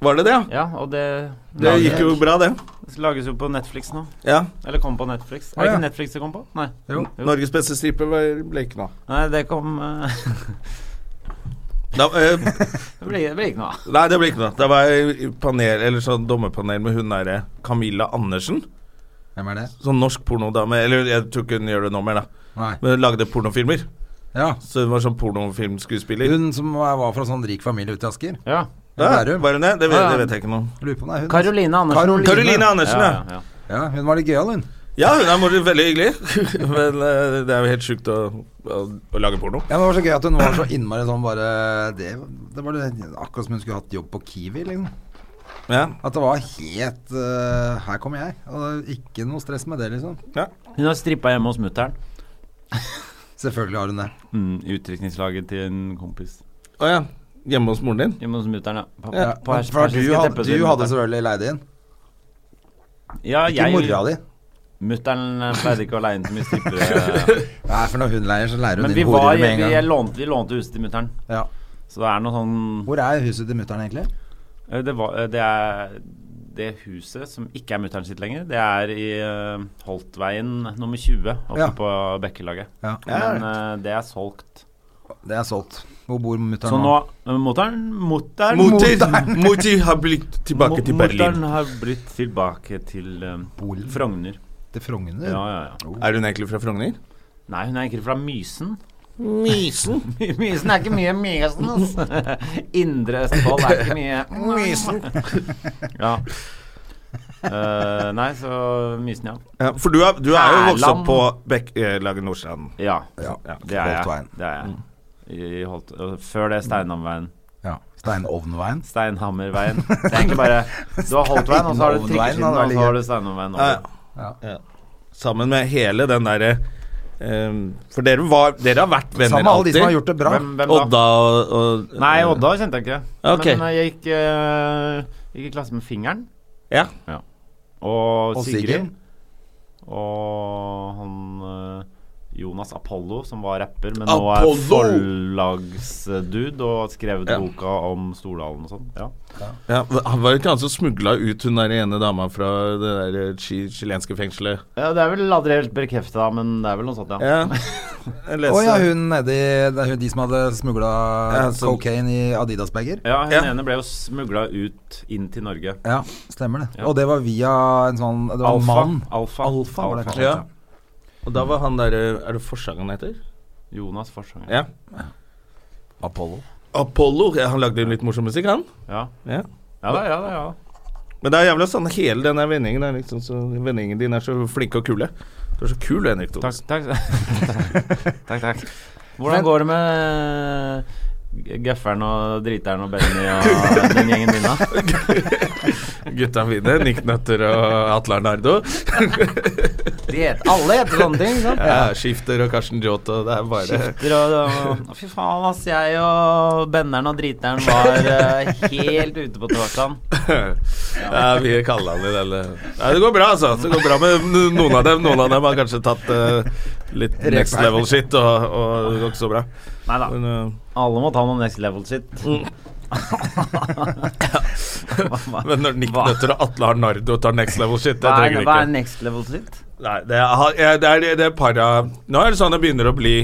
S2: Var det det, ja?
S4: Ja, og det,
S2: Det gikk jo bra, det.
S4: lages jo på Netflix nå.
S2: Ja.
S4: Eller kom på Netflix.
S1: Å,
S4: Er det
S1: ja.
S4: ikke Netflix det kom på? Nei.
S1: Jo.
S2: Norges beste stripper var- ble ikke noe av.
S4: Nei, det kom øh,
S2: Da, eh,
S4: [laughs]
S2: [laughs]
S4: Det ble, det ble ikke noe av.
S2: Nei, det ble ikke noe. av. Det var i panel, eller sånn dommerpanel med hun derre Camilla Andersen.
S1: Hvem er det?
S2: Sånn norsk pornodame. Eller jeg tror ikke hun gjør det nå mer, da.
S1: Nei.
S2: Men hun lagde pornofilmer.
S1: Ja.
S2: Så hun var sånn pornofilmskuespiller.
S1: Hun som var var fra sånn rik familie ute i Asker.
S4: Ja.
S2: Ja,
S1: Hun Bærum.
S2: var hun det? Det vet,
S4: Ja, ja.
S2: det vet jeg ikke noe om.
S1: Lurer på om det er hun.
S4: Caroline Andersen.
S1: Caroline.
S2: Caroline Andersen,
S4: ja.
S2: ja.
S4: ja, ja.
S1: Ja, hun var litt gøyal, hun.
S2: Ja, hun er mor- veldig hyggelig. [laughs] Men eh, det er jo helt sjukt å, å, å lage porno.
S1: Ja, men det var så gøy at hun var så innmari sånn bare Det, det var det, akkurat som hun skulle hatt jobb på Kiwi, liksom.
S2: Ja.
S1: At det var helt eh, Her kommer jeg. Og det- ikke noe stress med det, liksom.
S4: Hun har strippa hjemme hos mutter'n.
S1: Selvfølgelig har hun det.
S4: Mm, I utdrikningslaget til en kompis.
S2: Å ja. Hjemme hos moren din?
S4: Hjemme hos mutter'n, ja. På,
S1: Ja,
S4: på pers-
S1: for du
S4: persiske
S1: hadde,
S4: teppesiden,
S1: du hadde
S4: mutter'n.
S1: selvfølgelig leid inn.
S4: Ja,
S1: Ikke mora di.
S4: Mutter'n eh, pleide ikke å leie inn så mye strippere.
S1: Nei, for når hun leier, så leier hun
S4: Men
S1: inn
S4: vi, var,
S1: horer med en
S4: vi,
S1: gang.
S4: lånte, vi lånte huset til mutter'n.
S1: Ja.
S4: Så det er noe sånn
S1: Hvor er huset til mutter'n, egentlig?
S4: eh, Det, var, eh, det er det huset som ikke er mutter'n sitt lenger, det er i eh, Holtveien nummer 20 oppe
S1: Ja.
S4: på Bekkelaget.
S1: Ja.
S4: Men eh, det er solgt.
S1: Det er solgt. Hvor bor mutter'n
S4: Så nå eh, Mutter'n Mutter'n
S2: Moter, moter har blitt tilbake til Berlin.
S4: Mutter'n har blitt tilbake til eh,
S1: Polen.
S4: Frogner.
S1: Til Frogner?
S4: Ja, ja, ja.
S2: Er hun egentlig fra Frogner?
S4: Nei, hun er egentlig fra Mysen.
S2: Mysen.
S4: [laughs] Mysen er ikke mye Mysen, [laughs] altså. Indre Østfold er ikke mye Mysen. Ja. Eh, nei, så Mysnia.
S2: Ja, for du er, du er jo vokst opp
S4: Erland.
S2: på Bekkelaget Nordstrand.
S4: Ja.
S1: Ja,
S4: Det er jeg.
S1: Holtveien.
S4: Det er jeg. I Holt, og før det Steinhammerveien.
S1: Ja. Steinovnveien.
S4: Steinhammerveien. Det er egentlig bare Du har Holtveien, og så har du
S1: Steinhammerveien,
S4: trikkeskinnet,
S1: da, der
S4: og så har du Steinhammerveien.
S2: Ja,
S4: over.
S2: ja. ja. Sammen med hele den derre ehm, For dere, var, dere har vært venner
S1: Sammen med alle de som har gjort det bra.
S4: Hvem, hvem da?
S2: Odda og, og
S4: Nei, Odda kjente jeg ikke.
S2: Ok.
S4: Men eh, jeg gikk, eh, gikk i klasse med Fingeren
S2: Ja.
S4: og,
S1: Og
S4: Sigrid.
S1: Sigrid.
S4: Og han eh, Jonas Apollo, som var rapper, men nå
S2: Apollo!
S4: er forlagsdude og har skrevet
S2: Ja.
S4: boka om Stordalen og sånn. Ja.
S2: ja. Han var jo ikke han som smugla ut hun der ene dama fra det der eh, chi- chilenske fengselet?
S4: ja, det er vel aldri helt bekreftet, da, men det er vel noe sånt, ja.
S2: Ja. [laughs] Jeg
S1: Å
S2: leste
S1: ja, hun nedi det er hun- De som hadde smugla
S2: Ja, så-
S1: cocaine i Adidas-bager?
S4: Ja, hun
S2: Ja.
S4: ene ble jo smugla ut inn til Norge.
S1: Ja, stemmer det.
S4: Ja.
S1: Og det var via en sånn Det var en
S4: Alfa.
S1: mann.
S4: Alfa.
S1: Alfa var det
S4: Alfa.
S1: kanskje.
S2: Ja. Og da var han derre Er det Forsang han heter?
S4: Jonas Forsanger.
S2: Ja.
S1: Apollo.
S2: Apollo. Ja, han lagde jo litt morsom musikk, han.
S4: Ja.
S2: Ja.
S4: Ja da, ja da, ja da.
S2: Men det er jævla sånn hele denne vendingen er liksom så Vendingen din er så flinke og kule. Du er så kul, Henrik
S4: Takk,
S2: Thonsen.
S4: takk. [laughs] takk, takk. Hvordan går det med g- gøfferen og driteren og Benny og den gjengen din, da?
S2: Gutta mine, Nick Nøtter og Atle Arnardo.
S4: alle heter sånne ting, sant?
S2: Ja, Skifter og Karsten Jåt og det er bare
S4: Skifter og, og Fy faen, ass. Jeg og benneren og driteren var eh, helt ute på torsdag.
S2: Ja, vi kaller han i det. eller- Nei, det går bra, altså. Det går bra med n- noen av dem. Noen av dem har kanskje tatt eh, litt next level shit, og, og det går ikke så bra.
S4: Nei da.
S2: Men, eh,
S4: Alle må ta noe next level shit. Hva-
S2: [laughs] men når Nick
S4: Hva?
S2: Nøtter og Atle Arnardo tar next level shit, det
S4: Hva
S2: trenger vi
S4: er,
S2: ikke.
S4: hva er next level shit?
S2: Nei, det er, ha- jeg- det er, det er para Nå er det sånn jeg begynner å bli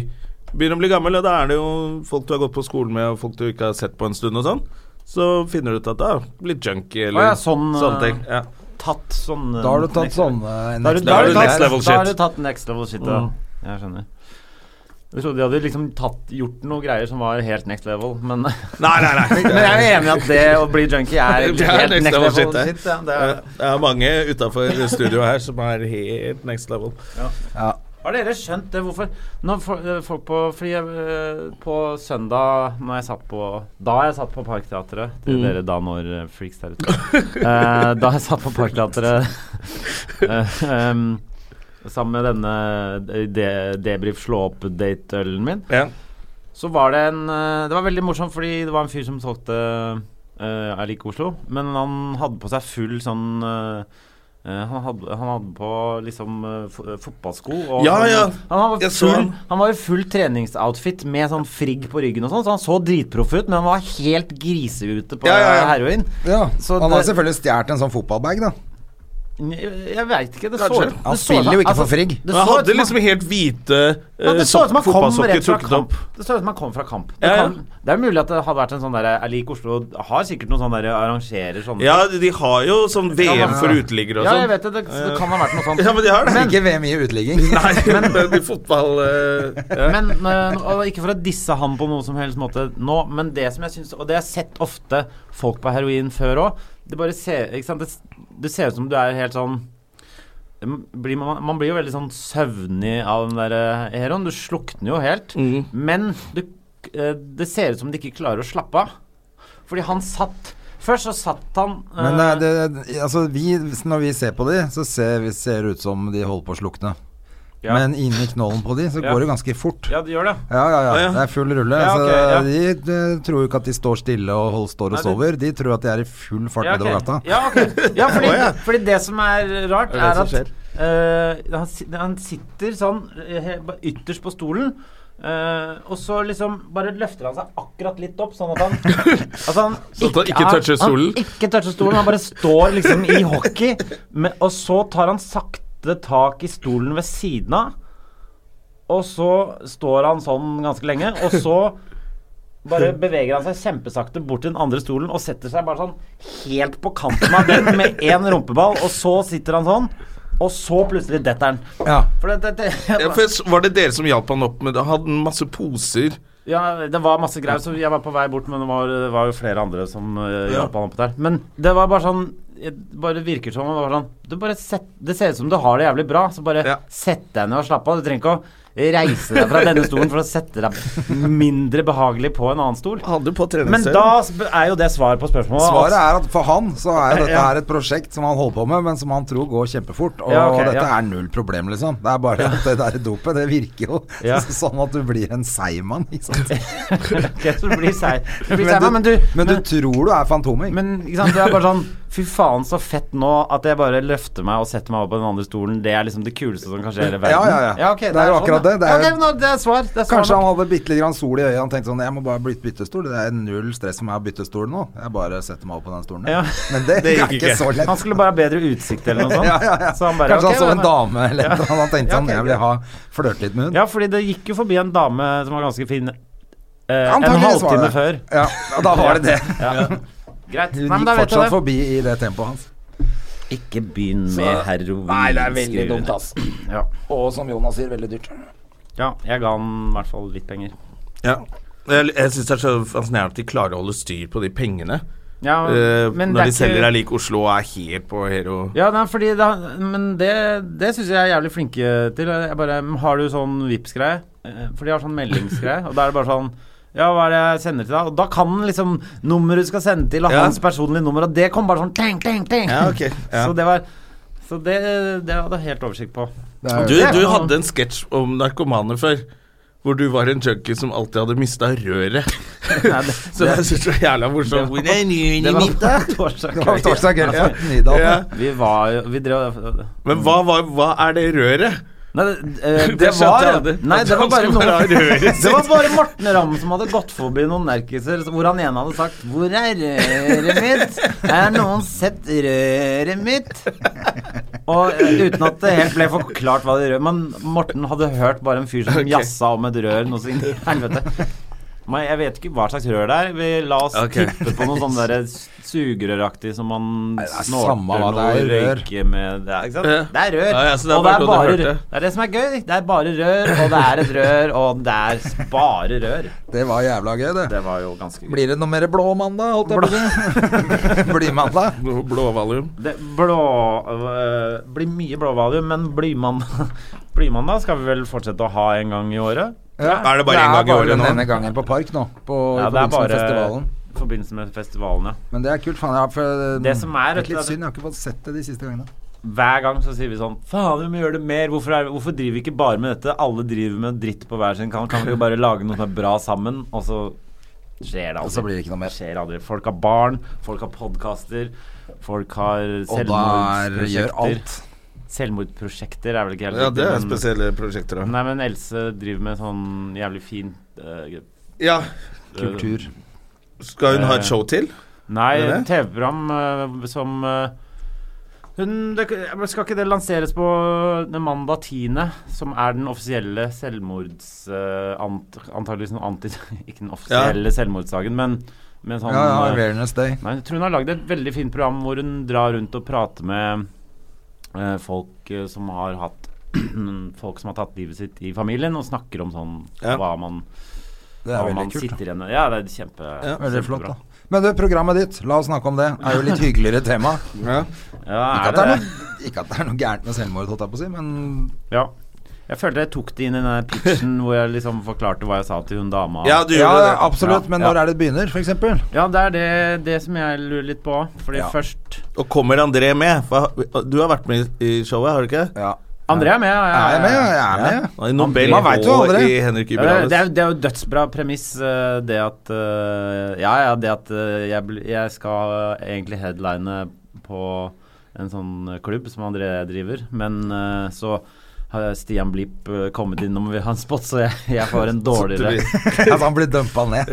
S2: Begynner å bli gammel, og da er det jo folk du har gått på skolen med, og folk du ikke har sett på en stund og sånn. Så finner du ut at da litt junkie eller
S4: Å ja, sånn,
S2: sånne
S4: eh,
S2: ting. Ja.
S4: Tatt sånn
S1: Da har du tatt sånne
S4: Da har du,
S2: Da er det
S4: tatt-
S2: next level
S4: Da har du Mm.
S2: shit.
S4: tatt next level shit, ja. Jeg skjønner. Jeg trodde de hadde liksom tatt, gjort noen greier som var helt next level, men
S2: Nei, nei, nei.
S4: [laughs] Men jeg er jo enig i at det å bli junkie er [laughs]
S2: Det
S4: helt
S2: er
S4: next, level shit.
S2: det.
S4: ja, det er.
S2: Ja, Det er mange utafor studioet her som er helt next level.
S4: Har dere skjønt det? Hvorfor Når fo- eh, folk på Fordi jeg, eh, på søndag når jeg satt på, Da jeg satt på Parkteatret Til dere da når eh, freaks der ute Eh, Da jeg satt på Parkteatret [laughs] eh, em, Sammen med denne de, de- debrief slå opp-date-ølen min
S2: Ja.
S4: Så var det en eh, Det var veldig morsomt fordi det var en fyr som solgte eh, Jeg liker Oslo Men han hadde på seg full sånn eh, eh, han, hadde, han hadde på liksom eh, fo- eh, fotballsko og
S2: Ja,
S4: sånn-
S2: ja.
S4: Han, var
S2: Jeg så
S4: full,
S2: han.
S4: han var i full treningsoutfit Med sånn frigg på ryggen og sånn Så han så dritproff ut Men han var helt griseute på
S2: Ja, ja, ja.
S4: heroin
S1: Ja.
S4: Så
S1: han har
S4: det-
S1: selvfølgelig stjålet en sånn fotballbag, da.
S4: Jeg, jeg vet ikke det så,
S2: Kanskje.
S4: det
S1: Han
S4: så- altså,
S1: spiller jo ikke for Frigg.
S4: det
S2: Men
S4: så
S2: han
S4: ut som
S2: hadde
S4: han-
S2: liksom helt hvite
S4: Ja,
S2: eh,
S4: det så
S2: sok-
S4: ut som han kom
S2: fotballsokker
S4: rett fra
S2: trukket
S4: kamp.
S2: opp.
S4: Det så ut som han kom fra kamp. Det,
S2: Ja, ja.
S4: Kan, det er mulig at det hadde vært en sånn derre Jeg liker Oslo har sikkert noen sånne der, arrangerer sånne
S2: Ja, de har jo sånn VM for uteliggere og
S4: Ja, jeg
S2: sånn.
S4: vet det. Det, det kan ha vært noe sånt.
S2: Ja, men de har det.
S1: Ikke VM i uteligging.
S4: [laughs]
S2: Nei, men i fotball eh, ja.
S4: Men, eh, og Ikke for å disse han på noen som helst måte nå, men det som jeg syns Og det har jeg sett ofte folk på heroin før òg. Det bare ser ikke sant? Det, det ser ut som du er helt sånn det blir, man, man blir jo veldig sånn søvnig av den der eh, heroen. Du slukner jo helt. Men du, eh, det ser ut som de ikke klarer å slappe av. Fordi han satt Først så satt han eh,
S1: Men eh, det, altså, vi, når vi ser på de, så ser vi ser det ut som de holder på å slukne.
S4: Ja.
S1: Men inni knollen på de, så
S4: [laughs] Ja.
S1: går det ganske fort.
S4: Ja, det gjør det.
S1: Ja, ja, ja.
S2: Ja, ja.
S1: Det er full rulle.
S4: Ja, ok, ja.
S1: Så de, eh, tror jo ikke at de står stille og hold, står og
S4: Nei,
S1: sover. De tror at de er i full fart
S4: Ja, ok.
S1: nedover gata.
S4: Ja, ok. ja, fordi,
S2: Å, ja.
S4: fordi det som er rart,
S2: det
S4: er
S2: som
S4: at
S2: skjer?
S4: eh, han, si- han sitter sånn eh, he- ba- ytterst på stolen. eh, og så liksom bare løfter han seg akkurat litt opp, sånn at han Altså han
S2: at han ikke
S4: er-
S2: toucher stolen?
S4: Han ikke toucher stolen, han bare står liksom i hockey, men, og så tar han sakte tak i stolen ved siden av. Og så står han sånn ganske lenge, og så bare beveger han seg kjempesakte bort til den andre stolen og setter seg bare sånn helt på kanten av den med én rumpeball, og så sitter han sånn, og så plutselig detter han.
S1: Ja.
S4: For det, det,
S2: Ja,
S4: det,
S2: for s- Var det dere som hjalp han opp med det? Hadde han masse poser?
S4: ja, det var masse eh, greier, så jeg var på vei bort, men det var, det var jo flere andre som uh, hjalp han opp der. Men det var bare sånn jeg bare virker som om det var sånn, du bare sett, Det ser ut som du har det jævlig bra, så bare
S2: Ja.
S4: sett deg ned og slapp av. Du trenger ikke å reise deg fra denne stolen for å sette deg mindre behagelig på en annen stol.
S2: Hadde på
S4: Men
S2: treningsstøy.
S4: da sp- er jo det svar på spørsmålet. at-
S1: Svaret er at for han så er jo dette
S4: altså? [laughs] Ja.
S1: her et prosjekt som han holder på med, men som han tror går kjempefort. Og
S4: Ja, ok,
S1: dette
S4: ja.
S1: er null problem, liksom. Det er bare at det der dopet, det virker jo [laughs]
S4: Ja.
S1: sånn at du blir en seigmann, ikke
S4: [laughs]
S1: sant.
S4: Ok, så du blir seig. Du blir seig,
S1: Men
S4: men
S1: du,
S4: du-
S1: men du tror du er Fantomet.
S4: Men ikke sant, det er bare sånn Fy faen, så fett nå at jeg bare løfter meg og setter meg opp på den andre stolen. Det er liksom det kuleste som kan skje i hele verden.
S1: Ja, ja, ja.
S4: ok, sånn,
S1: Det er jo akkurat
S4: ja.
S1: det. Det er
S4: Ja,
S1: jo-
S4: ok, men nå- det er svar. Det er svar
S1: Kanskje
S4: nok.
S1: han hadde bitte litt grann sol i øyet. Han tenkte sånn Jeg må bare bytte byttestol. Det er null stress for meg å bytte stol nå. Jeg bare setter meg opp på den stolen.
S4: Ja.
S1: Men
S4: [laughs]
S1: det,
S2: Det
S1: er
S2: gikk
S1: ikke
S2: ikke.
S1: så lett.
S4: Han skulle bare ha bedre utsikt eller noe
S1: [laughs]
S4: sånt.
S1: ja, ja, ja.
S4: Så han bare,
S1: Kanskje
S4: ok,
S1: han så en
S4: men-
S1: dame eller noe. Han tenkte sånn
S4: Ja, ok,
S1: Jeg vil ha flørte litt med hun.
S4: Ja, fordi det gikk jo forbi en dame som var ganske fin eh, en
S1: Antakeligvis var
S4: halvtime
S1: det.
S4: før.
S1: Ja, og da var det det.
S4: Greit.
S1: Hun
S4: Nei, men
S1: gikk
S4: da vet
S1: fortsatt
S4: jeg det.
S1: forbi i det tempoet hans.
S4: Ikke begynn med heroin.
S5: Nei, det er veldig
S4: skriver
S5: dumt,
S4: hun.
S5: ass.
S4: [clears throat] Ja.
S5: Og som Jonas sier, veldig dyrt.
S4: ja, jeg ga han i hvert fall litt penger.
S2: Ja. Jeg, jeg syns det er så fascinerende at de klarer å holde styr på de pengene.
S4: Ja,
S2: eh,
S4: men det
S2: når
S4: er
S2: de selger
S4: ikke-
S2: deg lik Oslo og er helt på hero.
S4: Ja, nei, fordi det, men det, det syns jeg er jævlig flinke til. Jeg bare, "Mm, Har du sånn Vipps-greie? Eh, For de har sånn meldingsgreie, og da er det bare sånn ja, hva er det jeg sender til deg? Og da kan den liksom nummeret du skal sende til, og
S2: Ja.
S4: hans personlige nummer, og det kom bare sånn teng, teng, teng.
S2: Ja, ok. Ja.
S4: Så det var Så det, det hadde jeg helt oversikt
S2: [laughs]
S4: på.
S2: Du,
S1: [laughs]
S2: du hadde en sketsj om narkomane før. Hvor du var en junkie som alltid hadde mista røret.
S4: Nei, det,
S2: Så det syns jeg er jævla morsomt.
S4: det
S1: Det var
S4: var på [laughs] torsdag.
S1: torsdag kveld. Ja. Nydalen.
S2: Ja.
S4: Vi var jo Vi drev
S2: Men hva, var- hva er det røret?
S4: Nei, det, eh,
S2: [laughs]
S4: det,
S2: Det skjønte jeg
S4: var
S2: aldri.
S4: Nei, det var
S2: At
S4: bare
S2: han skulle
S4: noen
S2: bare ha røret
S4: [laughs] Det
S2: sitt.
S4: var bare Morten Ramm som hadde gått forbi noen nerkiser, så- hvor han ene hadde sagt 'Hvor er røret mitt? Er noen sett røret mitt?' Og eh, uten at det helt ble forklart hva det røret Men Morten hadde hørt bare en fyr som
S2: Ok.
S4: jassa om et rør noe så inn i helvete. Men jeg vet ikke hva slags rør det er. Vi la oss
S2: Ok.
S4: tippe på noe sånn derre sugerøraktig som man
S1: det er samme
S4: snorter
S1: hva
S4: noe
S1: det er, rør.
S4: røyke med det er, ikke sant?
S2: Ja.
S4: Det er rør.
S2: Ja, ja, så det er
S4: og det
S2: bare
S4: er
S2: sånn du
S4: bare rør.
S2: hørte.
S4: Det er det som er gøy. Det er bare rør, og det er et rør, og det er s- bare rør.
S1: Det var jævla gøy, det.
S4: Det var jo ganske gøy.
S1: Blir det noe mer blå mandag, holdt jeg på å si? [laughs] Blymandag?
S2: Blå- Blåvalium.
S4: Det blå, øh, blir mye blåvalium, men [laughs] blymandag Blymandag skal vi vel fortsette å ha en gang i året?
S2: Er det bare én gang i
S1: bare
S2: året
S1: den
S2: nå?
S1: ene gangen på Park nå, på,
S4: Ja,
S1: i
S4: det er
S1: forbindelse med
S4: bare
S1: festivalen.
S4: i forbindelse med festivalen, ja.
S1: Men det er kult. Faen, jeg har for, eh,
S4: Det som er,
S1: det er
S4: vet
S1: litt
S4: du,
S1: synd, jeg har ikke fått sett det de siste gangene.
S4: Hver gang så sier vi sånn Faen, vi må gjøre det mer. Hvorfor, er, hvorfor driver vi ikke bare med dette? Alle driver med dritt på hver sin kant. Kan vi ikke bare lage noe som er bra sammen? Og så skjer det aldri.
S1: Og så blir det ikke noe mer.
S4: Skjer aldri. Folk har barn, folk har podkaster, folk har
S1: Og da er, gjør
S4: selvmordsprosjekter.
S1: alt.
S4: Selvmordsprosjekter er vel ikke helt
S2: Ja,
S4: riktig,
S2: det er
S4: men-
S2: spesielle prosjekter. da.
S4: Nei, men Else driver med sånn jævlig fin eh,
S2: Ja,
S1: Kultur.
S2: Skal hun ha et show til?
S4: Nei,
S2: Er det det?
S4: TV-program eh, som eh, hun, det, Skal ikke det lanseres på den mandag 10., som er den offisielle selvmords... Uh, ant, antageligvis noen anti... [laughs] Ikke den offisielle selvmordsdagen, men, men sånn
S1: Ja, ja,
S4: eh,
S1: Awareness Day.
S4: Nei, jeg tror hun har lagd et veldig fint program hvor hun drar rundt og prater med eh, folk eh, som har hatt [clears throat] Folk som har tatt livet sitt i familien, og snakker om sånn
S2: Ja.
S4: hva man,
S1: Det
S4: hva
S1: er veldig
S4: man
S1: kult. da.
S4: sitter igjen med. Ja, det er kjempe,
S1: Veldig flott,
S4: kjempebra.
S1: da. Men du, programmet ditt, la oss snakke om det. Er jo litt hyggeligere
S4: [laughs]
S1: tema.
S2: Ja.
S1: Ikke
S4: Ja, er
S1: at det
S4: det
S1: er
S4: det?
S1: noe, ikke at det er noe gærent med selvmord, holdt jeg på å si, men
S4: Ja. Jeg følte jeg tok det inn i den der
S1: [laughs]
S4: pitchen hvor jeg liksom forklarte hva jeg sa til hun dama.
S2: ja, du
S1: Ja,
S2: gjorde det.
S1: absolutt.
S4: Ja,
S1: Men
S4: ja.
S1: når er det det begynner, for eksempel?
S4: Ja, det er det, det som jeg lurer litt på. Fordi
S1: Ja.
S4: først
S2: Og kommer André med? For Du har vært med i showet, har du ikke?
S1: Ja.
S4: André er med. ja, ja,
S1: Er jeg med?
S4: ja.
S1: Ja, Jeg er med. [laughs]
S2: Og I Nobel
S1: Man vet jo
S2: og
S1: aldri.
S2: i Henrik
S4: Ja, det, er,
S2: Iberales.
S4: det er jo dødsbra premiss, eh, det at eh, Ja, ja, det at eh, jeg, bl- jeg skal eh, egentlig headline på en sånn klubb som André driver, men eh, så har Stian Blipp eh, kommet innom og vil ha en spot, så jeg, jeg får
S1: [laughs]
S4: en dårligere
S1: Altså, han blir dumpa ned.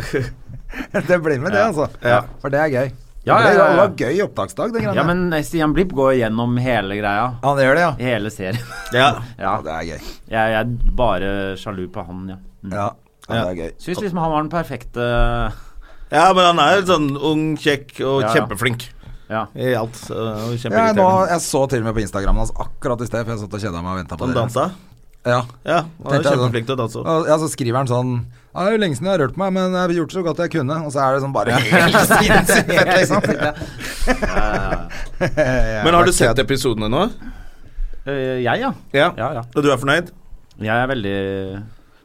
S1: [laughs] Det blir med det, altså.
S2: Ja.
S1: For det er gøy.
S4: Ja,
S1: det blir
S4: ja, ja, ja.
S1: det var gøy opptaksdag, det greiene.
S4: Ja, men eh, Stian Blipp går gjennom hele greia.
S1: Han gjør det, ja.
S4: Hele serien.
S2: Ja.
S1: Ja,
S4: Ja,
S1: det er gøy.
S4: jeg, jeg er bare sjalu på han, ja. Mm.
S1: Ja, ja det er gøy.
S4: Syns liksom han var den perfekte
S2: ja, men han er jo sånn ung, kjekk og
S4: Ja, ja.
S2: kjempeflink
S4: Ja.
S2: i alt. så det er jo
S1: Ja, jeg, nå,
S2: Kjempeirriterende.
S1: jeg så til og med på Instagramen hans akkurat i sted, for jeg satt og kjeda meg og venta på
S2: Han
S1: dere.
S2: dansa.
S1: Ja.
S2: Ja, han er
S1: Tenkte jeg da.
S2: kjempeflink til å danse. også.
S1: Og- ja, så skriver han sånn ja, 'Det er jo lenge siden jeg har rørt meg, men jeg har
S4: [laughs]
S1: [laughs] gjort så godt jeg kunne.' Og så er det sånn bare helt sinnssykt fett, liksom.
S4: Ja, ja, ja.
S2: Men har du sett episodene nå?
S4: Eh, jeg, ja.
S2: Ja.
S4: Ja, ja.
S2: Og du er fornøyd?
S4: Jeg er veldig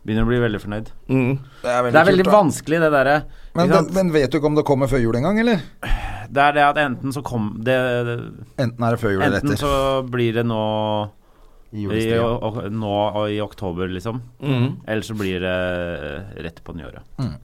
S4: Begynner å bli veldig fornøyd.
S2: Mm.
S5: Det er veldig,
S4: Det er veldig
S5: kult, da.
S4: vanskelig, det derre.
S1: Men,
S4: Ikke sant?
S1: den- men vet du ikke om det kommer før jul engang, eller?
S4: Det er det at enten så kom det,
S1: Enten er det før jul eller
S4: Enten
S1: etter.
S4: så blir det nå
S1: I
S4: i,
S1: julestria.
S4: og, nå og i oktober, liksom.
S2: Mm.
S4: Eller så blir det rett på nyåret.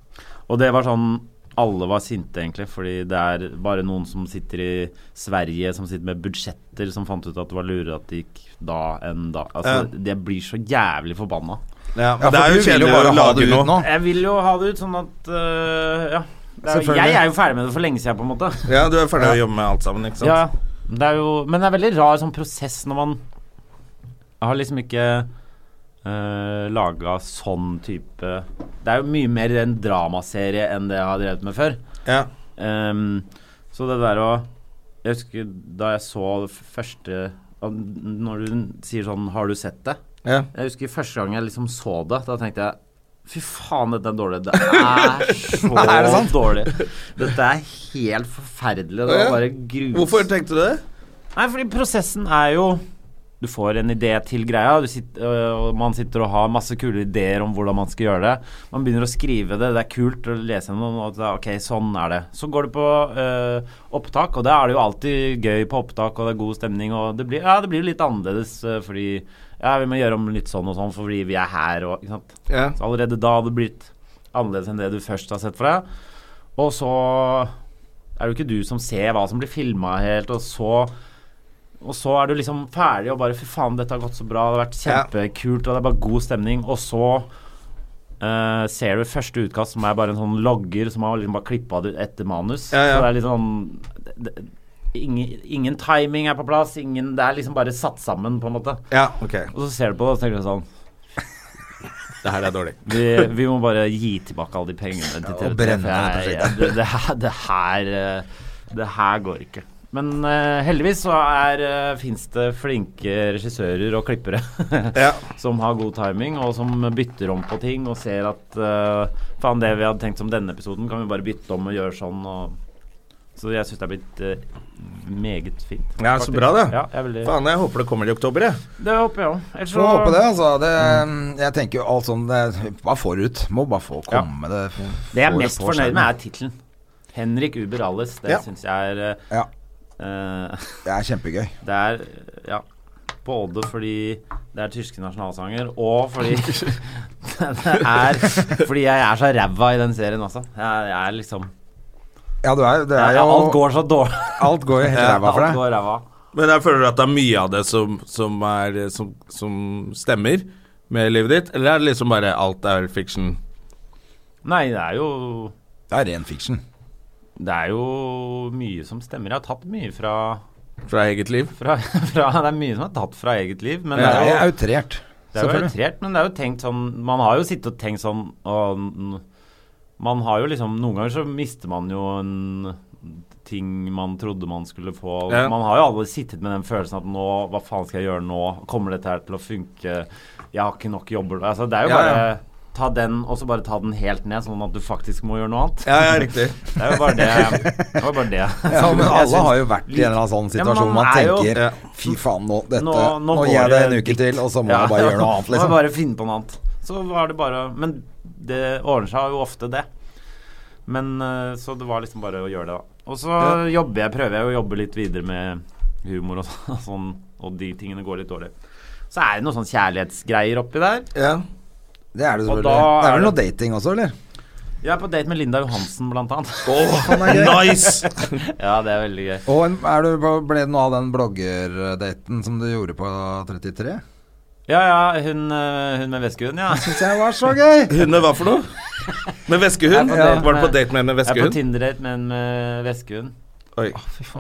S4: Og det var sånn alle var sinte, egentlig, fordi det er bare noen som sitter i Sverige, som sitter med budsjetter, som fant ut at det var lurere at det gikk da enn da. Altså, Det blir så jævlig forbanna.
S2: Ja, men
S1: Ja,
S2: det
S1: for
S2: er
S1: du
S2: jo
S1: vil jo
S2: kjedelig
S1: bare
S2: å
S1: ha
S2: lage
S1: det ut
S2: noe.
S1: nå.
S4: Jeg vil jo ha det ut sånn at øh, Ja. Det er,
S2: Selvfølgelig.
S4: jeg er jo ferdig med det for lenge siden, på en måte.
S2: Ja, du er ferdig å jobbe med alt sammen, ikke sant?
S4: Ja, det er jo, men det er veldig rar sånn prosess når man Jeg har liksom ikke uh, laga sånn type Det er jo mye mer en dramaserie enn det jeg har drevet med før.
S2: Ja.
S4: Ehm, så det der å Jeg husker da jeg så det første Når du sier sånn 'Har du sett det?'
S2: Ja.
S4: Jeg husker første gang jeg liksom så det, da tenkte jeg Fy faen, dette er dårlig. Det er så dårlig. Dette er helt forferdelig.
S2: Ja.
S4: Det var bare grusomt.
S2: Hvorfor tenkte du det?
S4: Nei, fordi prosessen er jo Du får en idé til greia, du sitter, øh, og man sitter og har masse kule ideer om hvordan man skal gjøre det. Man begynner å skrive det, det er kult å lese gjennom, og det er, ok, sånn er det. Så går det på øh, opptak, og da er det jo alltid gøy på opptak, og det er god stemning, og det blir, ja, det blir jo litt annerledes øh, fordi ja, vi må gjøre om litt sånn og sånn fordi vi er her og ikke sant.
S2: Ja.
S4: Så allerede da hadde det blitt annerledes enn det du først har sett for deg. Og så er det jo ikke du som ser hva som blir filma helt, og så og så er du liksom ferdig og bare Fy faen, dette har gått så bra, det har vært kjempekult, og det er bare god stemning. Og så eh, ser du første utkast, som er bare en sånn logger som har liksom bare klippa det etter manus.
S2: Ja, ja.
S4: Så det er litt sånn det, det, ingen, ingen timing er på plass, ingen Det er liksom bare satt sammen, på en måte.
S2: Ja, ok.
S4: Og så ser du på det, og så tenker du sånn
S2: Det her er dårlig.
S4: vi, vi må bare gi tilbake alle de pengene til TV3.
S1: og brenne
S4: for jeg-
S1: det
S4: jeg- det, det, her, det, her, eh, det her går ikke. Men eh, heldigvis så er, eh, finnes det flinke regissører og klippere [laughs]
S2: Ja.
S4: som har god timing, og som bytter om på ting og ser at eh, faen, det vi hadde tenkt som denne episoden, kan vi bare bytte om og gjøre sånn. Og så jeg syns det er blitt eh, meget fint.
S2: Ja, så
S4: faktisk.
S2: bra, da.
S4: Ja, jeg er veldig,
S2: Faen, jeg håper det kommer i oktober, jeg.
S4: det håper jeg òg. Ellers
S1: Får håpe det, altså. Det,
S4: Mm.
S1: jeg tenker jo alt sånn det, Bare forut. Må bare få komme det.
S4: Det jeg er
S1: får
S4: mest
S1: på
S4: fornøyd
S1: skjermen.
S4: med, er tittelen. Henrik Uber Alles. Det
S2: Ja.
S4: synes syns jeg er eh,
S1: Ja,
S4: eh, [laughs]
S1: det er kjempegøy.
S4: Det er eh, ja, både fordi det er tyske nasjonalsanger, og
S1: [laughs]
S4: fordi [laughs] det er Fordi jeg er så ræva i den serien også. Jeg, jeg er liksom
S1: Ja, du er, det er
S4: jeg,
S1: jo
S4: Alt går så dårlig.
S1: Alt går jo helt i [laughs] ræva for
S4: Alt
S1: deg.
S4: går ræva.
S2: Men jeg føler at det er mye av det som, som, er, som, som stemmer med livet ditt, eller er det liksom bare alt er fiction?
S4: Nei, det er jo
S1: Det er ren fiction.
S4: Det er jo mye som stemmer. Jeg har tatt mye fra,
S2: Fra eget liv?
S4: fra, [laughs] fra Det er mye som er tatt fra eget liv, men
S1: Det
S4: det er
S1: er
S4: jo
S1: outrert.
S4: Det er jo
S1: Selvfølgelig.
S4: outrert, men det er jo tenkt sånn Man har jo sittet og tenkt sånn og, n- Man har jo liksom Noen ganger så mister man jo en ting man trodde man skulle få.
S2: Ja.
S4: Man har jo alle sittet med den følelsen at nå Hva faen skal jeg gjøre nå? Kommer dette her til å funke? Jeg har ikke nok jobber Altså, det er jo
S2: Ja,
S4: bare
S2: ja.
S4: Ta den, og så bare ta den helt ned, sånn at du faktisk må gjøre noe annet.
S2: Ja, ja, riktig.
S4: Det er jo bare
S1: [laughs]
S4: det. Det var bare det.
S1: Ja, men
S4: Jeg
S1: alle
S4: synes-
S1: har jo vært i en eller annen sånn
S4: Ja, men
S1: situasjon hvor man
S4: man er jo-
S1: tenker
S2: Ja.
S1: Fy faen, nå, dette, nå,
S4: Nå- nå
S1: gir jeg
S4: går
S1: det
S4: det
S1: en uke
S4: dritt.
S1: til, og så må jeg bare gjøre
S4: [laughs]
S1: noe annet,
S4: Må
S1: liksom.
S4: jeg bare finne på noe annet. Så var det bare Men det ordner seg jo ofte, det. Men eh, Så det var liksom bare å gjøre det, da. Og så jobber jeg, prøver jeg å jobbe litt videre med humor og [laughs] så- sånn, og de tingene går litt dårlig. Så er det noen sånn kjærlighetsgreier oppi der.
S2: Ja.
S1: Det er det
S4: Og
S1: selvfølgelig.
S4: da
S1: Det er
S4: er
S1: vel
S4: det-
S1: noe dating også,
S4: [laughs]
S1: eller?
S4: Jeg er på date med Linda Johansen, blant annet. [laughs]
S2: nice!
S4: Ja, det er veldig gøy.
S1: Og en, er du, på- ble det noe av den bloggerdaten som du gjorde på 33?
S4: Ja, ja, hun, eh, hun med veskehund, ja.
S1: Syns jeg var så gøy!
S2: [laughs] Hunde, hva for noe? Med veskehund?
S4: Jeg er på date
S2: Var du på
S4: med-
S2: date med en med
S4: Jeg er på
S2: veskehund?
S4: Tinder-date med en med veskehund.
S2: Oi.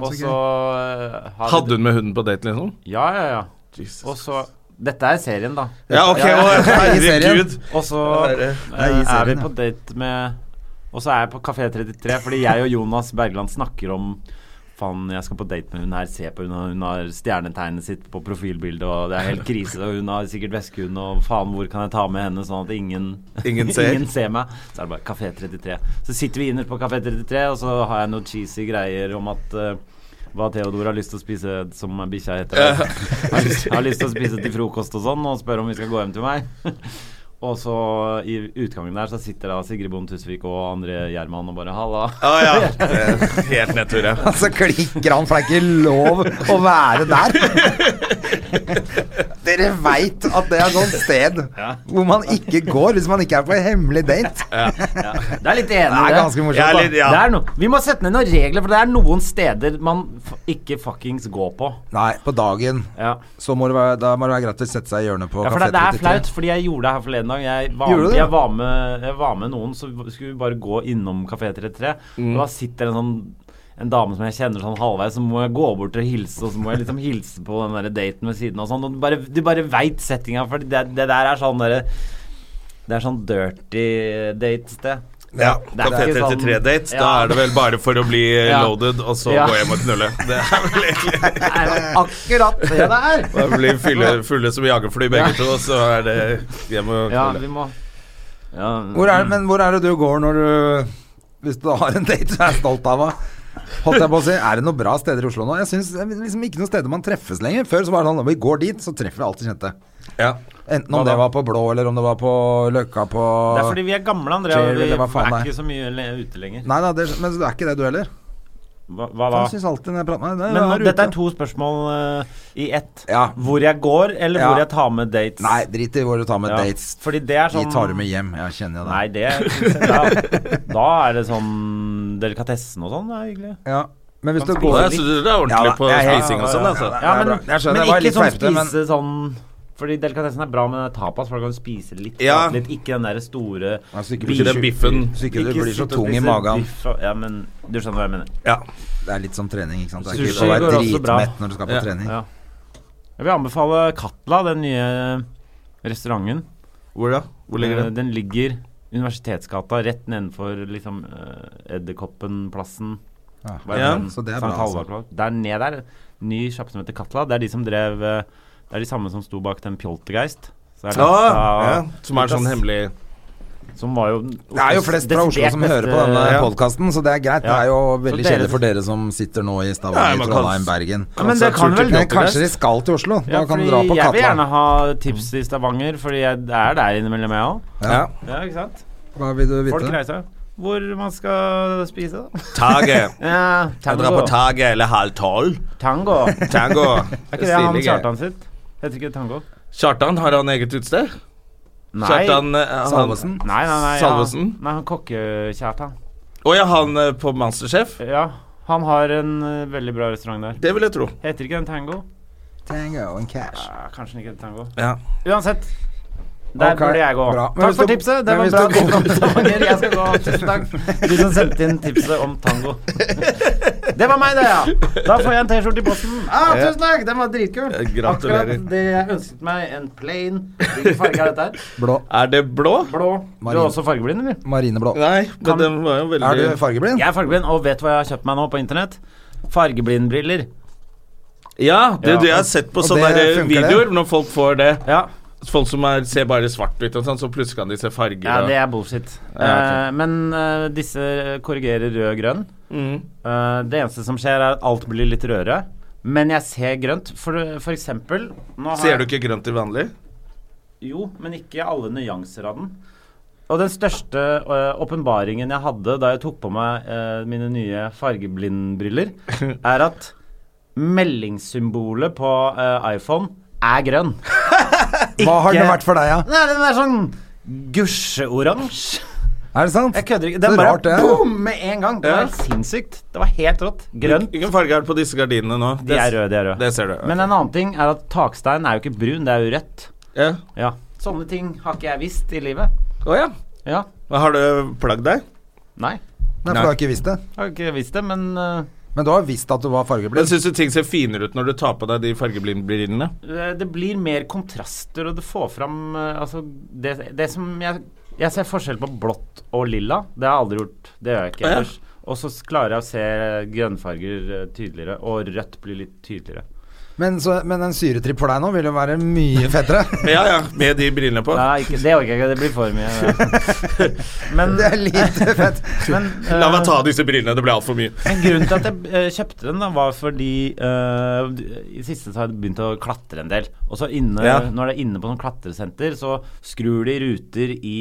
S4: Og så eh, har vi-
S2: Hadde hun med hunden på date, liksom?
S4: Ja, ja, ja.
S2: Jesus.
S4: Og så Dette er serien, da.
S2: Ja, ok, å, herregud.
S4: Og så
S2: Det er-
S1: er i
S4: eh, er vi
S1: serien, ja.
S4: på date med Og så er jeg på Kafé 33, fordi jeg og Jonas Bergland snakker om Faen, jeg skal på date med hun her. Se på hun, hun har stjernetegnet sitt på profilbildet, og det er helt krise. Og hun har sikkert veskehund, og faen, hvor kan jeg ta med henne, sånn at [laughs] ingen,
S2: Ingen ser.
S4: meg? Så er det bare Kafé 33. Så sitter vi inne på Kafé 33, og så har jeg noen cheesy greier om at eh, hva Theodor har lyst til å spise som bikkja heter. Har lyst, har lyst til å spise til frokost og sånn, og spør om vi skal gå hjem til meg. [laughs] Og så i utgangen der så sitter da Sigrid Bonde Tusvik og André Gjerman og bare 'halla'.
S2: Ja, [laughs] ja. Helt nedtur,
S1: [laughs]
S2: ja.
S1: Så klikker han, for det er ikke lov å være der. [laughs] Dere veit at det er sånt sted hvor man ikke går hvis man ikke er på en hemmelig date.
S4: Det er litt enig
S1: Det
S4: i
S1: er
S4: det.
S1: ganske
S2: Jeg er
S1: morsomt.
S2: litt- ja.
S4: Det er no vi må sette ned noen regler, for det er noen steder man f ikke fuckings går på.
S1: da. Nei, på dagen
S4: Ja.
S1: så må det være, da må det være greit å sette seg i hjørnet på
S4: Ja, for
S1: Café
S4: det, det er
S1: 33.
S4: flaut, fordi jeg gjorde det her forleden dag. Jeg var,
S1: Gjorde du det?
S4: jeg var, med, jeg var med noen, så skulle vi bare gå innom Kafé 33.
S1: Mm.
S4: Og da sitter en sånn en dame som jeg kjenner sånn halvveis, så må jeg gå bort og hilse, og så må jeg liksom hilse på den der daten ved siden av og sånn. Og du bare, du bare veit settinga, for det, det der er sånn derre Det er sånn dirty date-sted.
S2: Ja,
S4: Det er
S2: Kafé
S4: ikke sånn-
S2: 33-date. Da
S4: Ja.
S2: er det vel bare for å bli [laughs] eh,
S4: Ja.
S2: loaded, og så
S4: Ja.
S2: gå hjem og knulle. Det er vel egentlig
S4: Akkurat det
S2: [laughs]
S4: der!
S2: Da blir fulle, fulle som jagerfly begge to, og så er det hjem og
S4: [laughs] Ja,
S2: knulle.
S4: vi må ja,
S1: Hvor er, men hvor er det du går når du Hvis du har en date du er stolt av? hva? Holdt jeg på å si, Er det noen bra steder i Oslo nå? Jeg synes liksom ikke noen steder man treffes lenger. Før så var det sånn når vi går dit, så treffer vi alltid kjente.
S2: Ja.
S1: Enten om det var på Blå, eller om det var på Løkka på
S4: Det er fordi vi er gamle, André,
S1: Jerry,
S4: og vi
S1: eller
S4: er
S1: hva faen det
S4: ikke
S1: er.
S4: så mye le- ute lenger.
S1: Nei da, det, men det er ikke det du heller.
S4: Hva, hva da?
S1: Han syns alltid når jeg prater med deg
S4: Men nå- dette er to spørsmål eh, i ett.
S1: Ja.
S4: Hvor jeg går, eller
S1: Ja.
S4: hvor jeg tar med dates.
S1: Nei, drit i hvor du tar med
S4: Ja.
S1: dates.
S4: Fordi det er
S1: De
S4: sånn
S1: tar du med hjem. Jeg kjenner jo det.
S4: Nei, det ja. Da er det sånn delikatessen og sånn. Det er hyggelig.
S1: Ja. Men hvis du
S4: Kan
S1: går
S4: spise
S2: Jeg synes det er
S1: Ja,
S2: ordentlig
S1: da,
S2: på
S1: jeg er helt-
S2: spising og sånn,
S1: ja,
S2: altså.
S1: ja,
S4: Ja,
S1: det er
S4: men,
S1: bra. Jeg skjønner,
S4: men
S1: det var
S4: ikke
S1: litt
S4: sånn
S1: fleipete, men-
S4: spise sånn Fordi delikatessen er bra med tapas, for da kan du spise litt,
S2: Ja.
S4: prate litt. Ikke den derre store
S1: Altså, ikke
S2: Ikke den biffen.
S1: Så ikke du
S4: Ikke
S1: blir så
S4: sitte og
S1: tung i
S4: spise
S1: magen.
S4: biff og- Ja, men du skjønner hva jeg mener.
S2: Ja.
S1: Det er litt som trening, ikke sant. Det er
S4: Sushi
S1: ikke å være
S4: går også bra.
S1: dritmett når du skal på
S2: Ja.
S1: trening.
S4: Ja. Jeg vil anbefale Katla, den nye restauranten.
S2: Hvor da? Hvor ligger
S4: Eh,
S2: den?
S4: Den ligger Universitetsgata, rett nedenfor liksom eh, Edderkoppenplassen.
S1: Ja.
S4: Hva er
S2: Ja,
S4: den?
S1: så det er
S4: Sankt
S1: bra, altså.
S4: Halvardplass. Der nede der, ny sjappe som heter Katla. Det er de som drev eh, Det er de samme som sto bak den Pjoltergeist. Så er det
S2: Ja,
S1: Ah,
S4: Katla-
S2: ja. Som er sånn hemmelig
S4: Som var jo
S1: Det er jo flest fra Oslo som hører på denne podkasten, så det er greit. Det
S4: Ja.
S1: er jo
S4: Så
S1: veldig
S4: dere-
S1: kjedelig for dere som sitter nå i
S2: Nei,
S1: Stavanger,
S2: man kan-
S1: Trondheim, Bergen.
S4: Ja, men det kan vel
S1: Men kanskje de skal til Oslo? Da
S4: ja,
S1: kan de
S4: fordi
S1: dra på
S4: Jeg vil gjerne
S1: Katla.
S4: ha tips i Stavanger, fordi jeg er der innimellom, jeg òg.
S1: Ja.
S4: Ja, ikke sant?
S1: Hva vil du
S4: Folk
S1: vite?
S4: reiser. Hvor man skal spise, da?
S2: Taget.
S4: Ja,
S2: Jeg drar
S4: tango.
S2: på taget eller halv tolv.
S4: Tango. Er
S2: Tango. [laughs]
S4: ikke det han Kjartan sitt? Heter ikke det tango?
S2: Kjartan, har han eget utsted?
S4: Nei.
S2: Kjartan eh, han-
S1: Salvesen?
S4: Nei, nei, nei.
S2: Salvesen?
S4: Ja. Nei, han kokke-Kjartan.
S2: Å ja, han eh, på Masterchef?
S4: Ja. Han har en eh, veldig bra restaurant der.
S2: Det vil jeg tro.
S4: Heter ikke den tango?
S1: Tango and cash.
S4: Ja, kanskje den ikke heter tango.
S2: Ja.
S4: Uansett. Der
S1: Ok,
S4: burde jeg gå.
S1: bra. Men hvis
S4: Takk for
S1: du-
S4: tipset. Det
S1: men
S4: var
S1: hvis
S4: bra.
S1: du går-
S4: podkast, Stavanger. Jeg skal gå. Tusen takk. Du som sendte inn tipset om tango. Det var meg, det, ja. Da får jeg en T-skjorte i posten. Ah, tusen takk! Den var dritkul.
S2: Eh, gratulerer.
S4: Akkurat det jeg ønsket meg. En plain. Hvilken farge er dette her?
S1: Blå.
S2: Er det blå?
S4: Blå. Du
S1: Marin.
S4: er også fargeblind, eller?
S1: Marineblå.
S2: Nei, men
S4: Kan-
S2: den var jo veldig
S1: Er du fargeblind?
S4: Jeg er fargeblind, og vet du hva jeg har kjøpt meg nå på internett? Fargeblindbriller.
S2: Ja, det,
S4: Ja.
S2: det jeg har sett på
S1: Og
S2: sånne
S1: det
S2: der eh,
S1: funker,
S2: videoer når folk får det.
S4: Ja,
S2: Folk som er, ser bare svart-hvitt og sånn, så plutselig kan de se farger.
S4: ja
S2: og-
S4: det er bullshit.
S2: Ja,
S4: Eh, men eh, disse korrigerer rød-grønn.
S2: mm.
S4: Eh, det eneste som skjer, er at alt blir litt rødere. Men jeg ser grønt. For, for eksempel nå har
S2: Ser du
S4: jeg-
S2: ikke grønt til vanlig?
S4: Jo, men ikke alle nyanser av den. Og den største eh, åpenbaringen jeg hadde da jeg tok på meg eh, mine nye
S2: [laughs]
S4: fargeblindbriller, er at meldingssymbolet på eh, iPhone er grønn.
S1: Hva har det
S4: Ikke-
S1: vært for deg, ja?
S4: Nei, den er sånn gusjeoransje.
S1: Er det sant?
S4: Jeg kødder ikke.
S1: Så
S4: Den bare
S1: rart det er.
S4: boom med en gang. Det
S2: Ja.
S4: var helt sinnssykt. Det var helt rått. Grønt.
S2: Hvilken farge er det på disse gardinene nå?
S4: De er røde, de er
S2: Det
S4: røde.
S2: ser du.
S4: Men en annen ting er at takstein er jo ikke brun, det er jo rødt.
S2: ja.
S4: Ja. Sånne ting har ikke jeg visst i livet.
S2: Å ja.
S4: Ja.
S2: Men Har du plagd deg?
S4: Nei.
S1: Nei, for du har ikke visst det.
S4: Jeg har ikke visst det, men øh,
S1: Men du har visst at du var
S2: Men
S1: fargeblind.
S2: Syns du ting ser finere ut når du tar på deg de fargeblindbrillene?
S4: Eh, det blir mer kontraster, og det får fram øh, Altså, det, det som jeg Jeg ser forskjell på blått og lilla. Det har jeg aldri gjort. Det gjør jeg ikke
S2: Å, ja.
S4: ellers. eh, Og så s- klarer jeg å se grønnfarger øh, tydeligere, og rødt blir litt tydeligere.
S1: Men, så, men en syretripp for deg nå vil jo være mye
S4: [laughs]
S1: fettere.
S2: Ja, ja, med de brillene på.
S4: Nei, ikke, det orker jeg ikke. Det blir for mye.
S2: [laughs]
S4: Men,
S1: Det er lite fett.
S4: men eh,
S2: La meg ta disse brillene, det ble altfor mye.
S4: Men grunnen til at jeg eh, kjøpte den, da, var fordi eh, d- I siste så har jeg begynt å klatre en del. Og så inne,
S2: Ja.
S4: når det er inne på sånn klatresenter, så skrur de ruter i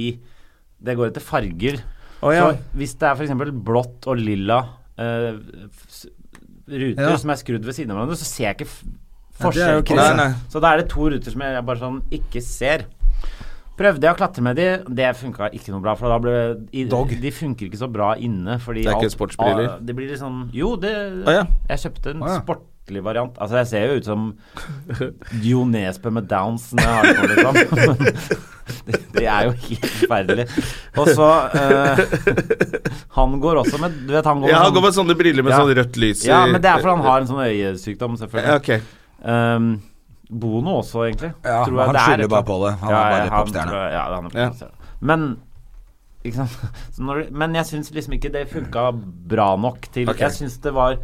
S4: Det går etter farger.
S2: ja.
S4: Så hvis det er f.eks. blått og lilla eh, s- ruter
S1: Ja.
S4: som er skrudd ved siden av hverandre, så ser jeg ikke f-
S1: Ja, det er jo
S4: forskjell på
S1: krise.
S4: det.
S2: Nei, nei.
S4: Så da er det to ruter som jeg bare sånn ikke ser. Prøvde jeg å klatre med de, det funka ikke noe bra. For da ble i,
S1: Dog.
S4: De funker ikke så bra inne. Fordi
S2: Det er ikke
S4: alt-
S2: sportsbriller?
S4: Ah, Det blir litt sånn Jo, det
S2: Å, ja.
S4: Jeg kjøpte en
S1: Å, ja.
S4: sportlig variant. Altså, jeg ser jo ut som [laughs] Jo Nesbø med downs når jeg har det på, liksom.
S1: [laughs]
S4: Men det- Det er jo helt forferdelig. Og så eh, Han går også med Du vet, han går
S2: Ja,
S4: med
S2: han går med sånne briller med
S4: Ja.
S2: sånn rødt lys i
S4: Ja, men det er fordi han har en sånn øyesykdom, selvfølgelig.
S2: Ja, ok.
S4: Ehm, Bono også, egentlig.
S1: Ja,
S4: Tror jeg
S1: han
S4: det er
S1: skylder
S4: et
S1: bare
S4: eller annet.
S1: på det. Han er bare popstjerne.
S4: tror jeg- Ja, han er
S2: Ja.
S4: popstjerne. Men ikke sant? [laughs] Så når, Men jeg syns liksom ikke det funka bra nok til
S2: Ok.
S4: Jeg syns det var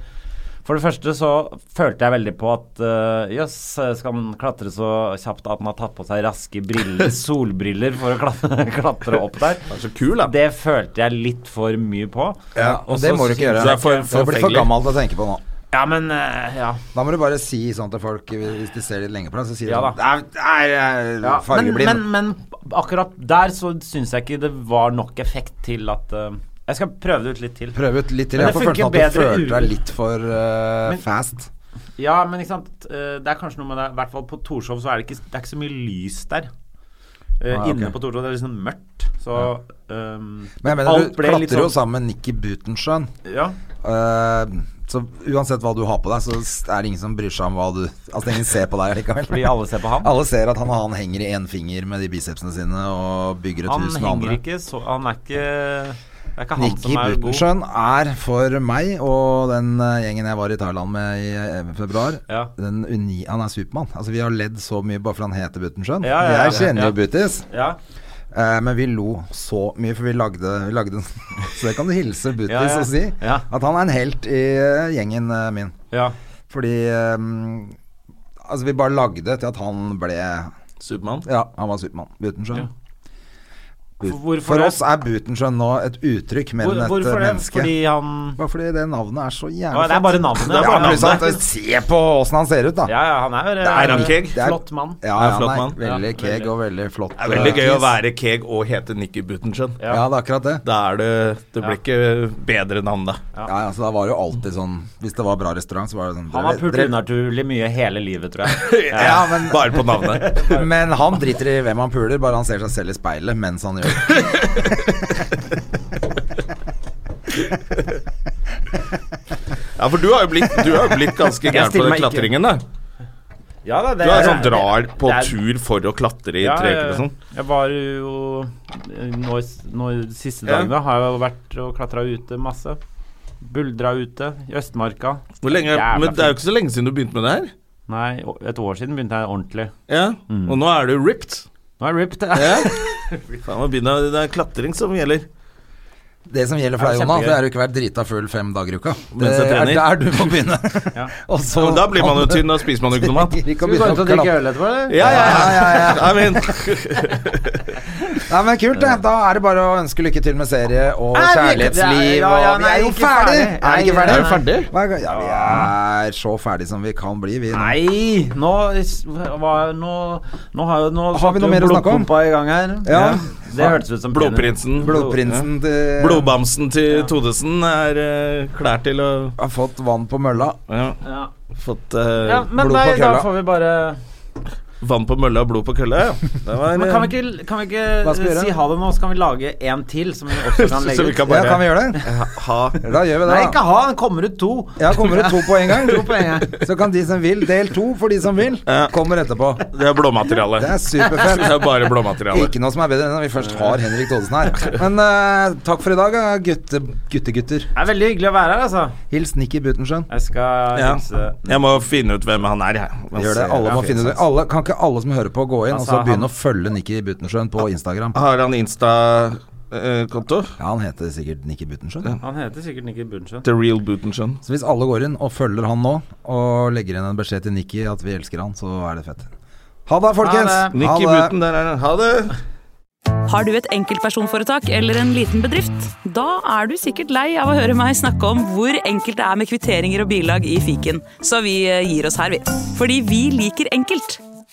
S4: For det første så følte jeg veldig på at øh, jøss, skal man klatre så kjapt at man har tatt på seg
S1: [laughs]
S4: raske briller, solbriller, for å klatre, klatre opp der?
S2: Han er så kul, da.
S4: Det følte jeg litt for mye på.
S1: Ja, og det
S4: så
S1: må du ikke gjøre.
S2: Så det er for-
S1: det blir for
S2: forfengelig.
S1: gammelt å tenke på nå.
S4: Ja, men øh, Ja.
S1: Da må du bare si sånn til folk hvis de ser litt lenge på deg, så sier de
S4: Ja,
S1: sånn Nei, jeg er
S4: Ja, men,
S1: fargeblind.
S4: men, men akkurat der så syns jeg ikke det var nok effekt til at eh, Jeg skal prøve det ut litt til.
S1: Prøve ut litt til.
S4: Men
S1: Jeg
S4: det
S1: får følelsen
S4: funker
S1: at du
S4: bedre
S1: følte deg
S4: uten-
S1: litt for eh,
S4: Men-
S1: fast.
S4: Ja, men ikke sant eh, Det er kanskje noe med det I hvert fall på Torshov så er det ikke, det er ikke så mye lys der. Eh,
S1: Ah, ok.
S4: Inne på Torshov det er liksom mørkt. Så ehm,
S1: Men jeg mener,
S4: alt
S1: du
S4: ble litt
S1: klatrer jo
S4: sånn-
S1: sammen med Nikki Butenschøn.
S4: Ja.
S1: Eh, så uansett hva du har på deg, så er det ingen som bryr seg om hva du Altså ingen ser på deg likevel.
S4: Fordi alle ser på [laughs] han.
S1: Alle ser at han, han henger i én finger med de bicepsene sine og bygger et
S4: Han
S1: hus med
S4: henger
S1: andre.
S4: ikke så Han er ikke Det er ikke han
S1: Nikki
S4: som er god.
S1: Butenschøn er for meg og den eh, gjengen jeg var i Thailand med i eh, februar
S4: Ja.
S1: den uni, Han er Supermann. Altså, vi har ledd så mye bare fordi han heter Butenschøn.
S4: Ja, ja, ja,
S1: jeg kjenner
S4: ja.
S1: jo Butis,
S4: Ja.
S1: eh, men vi lo så mye, for vi lagde, vi lagde en [laughs] Så det kan du hilse Butis
S4: Ja, ja.
S1: og si.
S4: Ja.
S1: At han er en helt i eh, gjengen eh, min.
S4: ja.
S1: Fordi eh, Altså, vi bare lagde til at han ble Ja,
S2: [laughs] Supermann.
S1: han var Supermann. Butenschøn.
S4: Ja.
S1: But-
S4: Hvorfor
S1: For
S4: det?
S1: oss er Butenschøn nå et uttrykk mer
S4: Hvor,
S1: enn et eh,
S4: hvorfor det?
S1: menneske.
S4: Fordi han
S1: Bare fordi det navnet er så jævlig
S4: Å, Det er bare navnet. Det
S1: Ja,
S4: er bare
S1: men ikke sant?
S4: navnet.
S1: Se på åssen han ser ut, da.
S4: Ja, ja, han er jo
S2: er
S4: eh,
S2: en keg.
S1: Det er-
S4: flott mann.
S1: Ja,
S2: Han er
S1: ja,
S2: flott
S1: han
S2: mann.
S1: er veldig
S4: Ja,
S1: keg
S4: veldig.
S1: og veldig flott.
S2: Det er veldig
S1: eh,
S2: gøy å
S1: kis.
S2: være keg og hete Nikki Butenschøn.
S1: Ja. det er akkurat det.
S2: Da er det Det blir ikke bedre navn, da.
S1: Ja, ja, så da var det jo alltid sånn Hvis det var bra restaurant, så var det sånn
S4: Han har
S1: dere-
S4: pult
S1: dere-
S4: unaturlig mye hele livet, tror
S1: [laughs]
S4: jeg.
S1: Ja, men,
S2: Bare på navnet.
S1: men han driter i hvem han puler, bare han ser seg selv i speilet mens han gjør det.
S2: Ja, for du har jo blitt, du har jo blitt ganske gæren på
S4: stiller
S2: den
S4: meg ikke.
S2: klatringen, da.
S4: Ja, da, det
S2: Du er sånn drar på
S4: det er-
S2: tur for å klatre i
S4: Ja,
S2: tre uker og sånn.
S4: Jeg var jo Nå, i s- nå i de siste
S2: Ja.
S4: dagene har jeg jo vært og klatra ute masse. Buldra ute i Østmarka.
S2: Hvor lenge,
S4: Jævla
S2: men det er jo ikke så lenge siden du begynte med det her.
S4: Nei, å- et år siden begynte jeg ordentlig.
S2: Ja. Og nå er du ripped.
S4: Nå er jeg ripped. [laughs]
S2: [laughs] Ja. Faen, må begynne, det er klatring som gjelder.
S1: Det som gjelder for
S4: Ja,
S1: deg, Jonna,
S4: kjempegøy.
S1: det er jo ikke å være drita full fem dager i uka. Det
S2: Mens jeg
S1: er
S2: trener.
S1: der du
S2: [laughs]
S1: må begynne.
S4: Ja.
S1: [laughs] Og så
S2: Men da blir
S1: [laughs]
S2: man jo tynn, da spiser man jo ikke noe mat.
S1: Ikke å
S4: Skal vi gå
S1: begynne
S4: ut
S1: å
S4: og drikke
S1: klappe.
S4: øl etterpå, eller?
S2: Ja, ja, [laughs] ja.
S1: Ja, ja, ja.
S2: I mean.
S1: Nei, men kult, det. Da er det bare å ønske lykke til med serie og
S4: Er vi-
S1: kjærlighetsliv
S4: Ja, ja, ja,
S1: og Vi
S4: nei,
S1: er jo
S4: ikke
S1: ferdig!
S4: ferdig.
S1: Er vi ikke
S4: Nei,
S1: ferdig?
S4: nei, nei.
S1: Hva er- Ja, vi er så ferdig som vi kan bli, vi. nå.
S4: Nei! Nå, is- hva- nå, nå har jo nå
S1: Har vi
S4: satte
S1: noe
S4: jo
S1: mer å snakke om?
S4: blodpumpa i gang her.
S1: Ja.
S4: Det hørtes ut som
S2: Blodprinsen.
S1: Blodprinsen til
S2: Blodbamsen til Todesen er eh, klær til å
S1: har fått vann på mølla.
S2: ja,
S4: Ja.
S2: Fått eh,
S4: ja, men
S1: Blod på
S4: nei, da
S1: kølla.
S4: får vi bare
S2: vann på mølla og blod på kølla. Ja. Det var,
S4: Men kan vi
S2: eh,
S4: ikke, kan vi
S1: Hva skal vi
S4: ikke
S1: gjøre?
S4: si ha det nå, så kan vi lage en til som
S2: [laughs]
S4: vi også kan legge
S2: så vi
S4: ut?
S2: kan
S1: Ja,
S2: bare
S1: kan vi gjøre det?
S2: ha
S1: Da gjør vi det,
S4: Nei,
S1: da.
S4: ikke ha, den kommer ut to.
S1: Ja, kommer det to på en gang?
S4: [laughs] To på en gang.
S1: Så kan de som vil, del to for de som vil,
S2: Ja.
S1: kommer etterpå.
S2: Det er blåmateriale.
S1: Det er
S2: [laughs] Det
S1: superfett.
S2: er bare blåmateriale.
S1: Ikke noe som er bedre enn når vi først har Henrik Thodesen her. Men eh, takk for i dag, eh, gutte, guttegutter.
S4: Det er veldig hyggelig å være her, altså.
S1: Hils Nikki Butenschøn.
S4: Jeg skal
S2: Ja.
S4: hilse
S2: Jeg må finne ut hvem han er, jeg. eh,
S1: Vi Gjør det. Alle må finne det. Alle, kan ikke alle som hører på, gå inn og
S4: Altså,
S1: så begynne
S4: han- Ah.
S1: å følge Nikki Butenschøn på Instagram?
S2: Har han Insta eh, konto.
S1: Ja, han heter sikkert Nikki Butenschøn.
S4: Han heter sikkert Nikki Bunchen.
S2: The Real Butenschøn.
S1: Så hvis alle går inn og følger han nå, og legger igjen en beskjed til Nikki at vi elsker han, så er det fett. Ha det, folkens!
S4: Ha det.
S2: Nikki
S1: Ha det.
S2: Buten, der er han. Ha det!
S6: Har du et enkeltpersonforetak eller en liten bedrift? Da er du sikkert lei av å høre meg snakke om hvor enkelt det er med kvitteringer og bilag i fiken, så vi eh, gir oss her, vi. Fordi vi liker enkelt.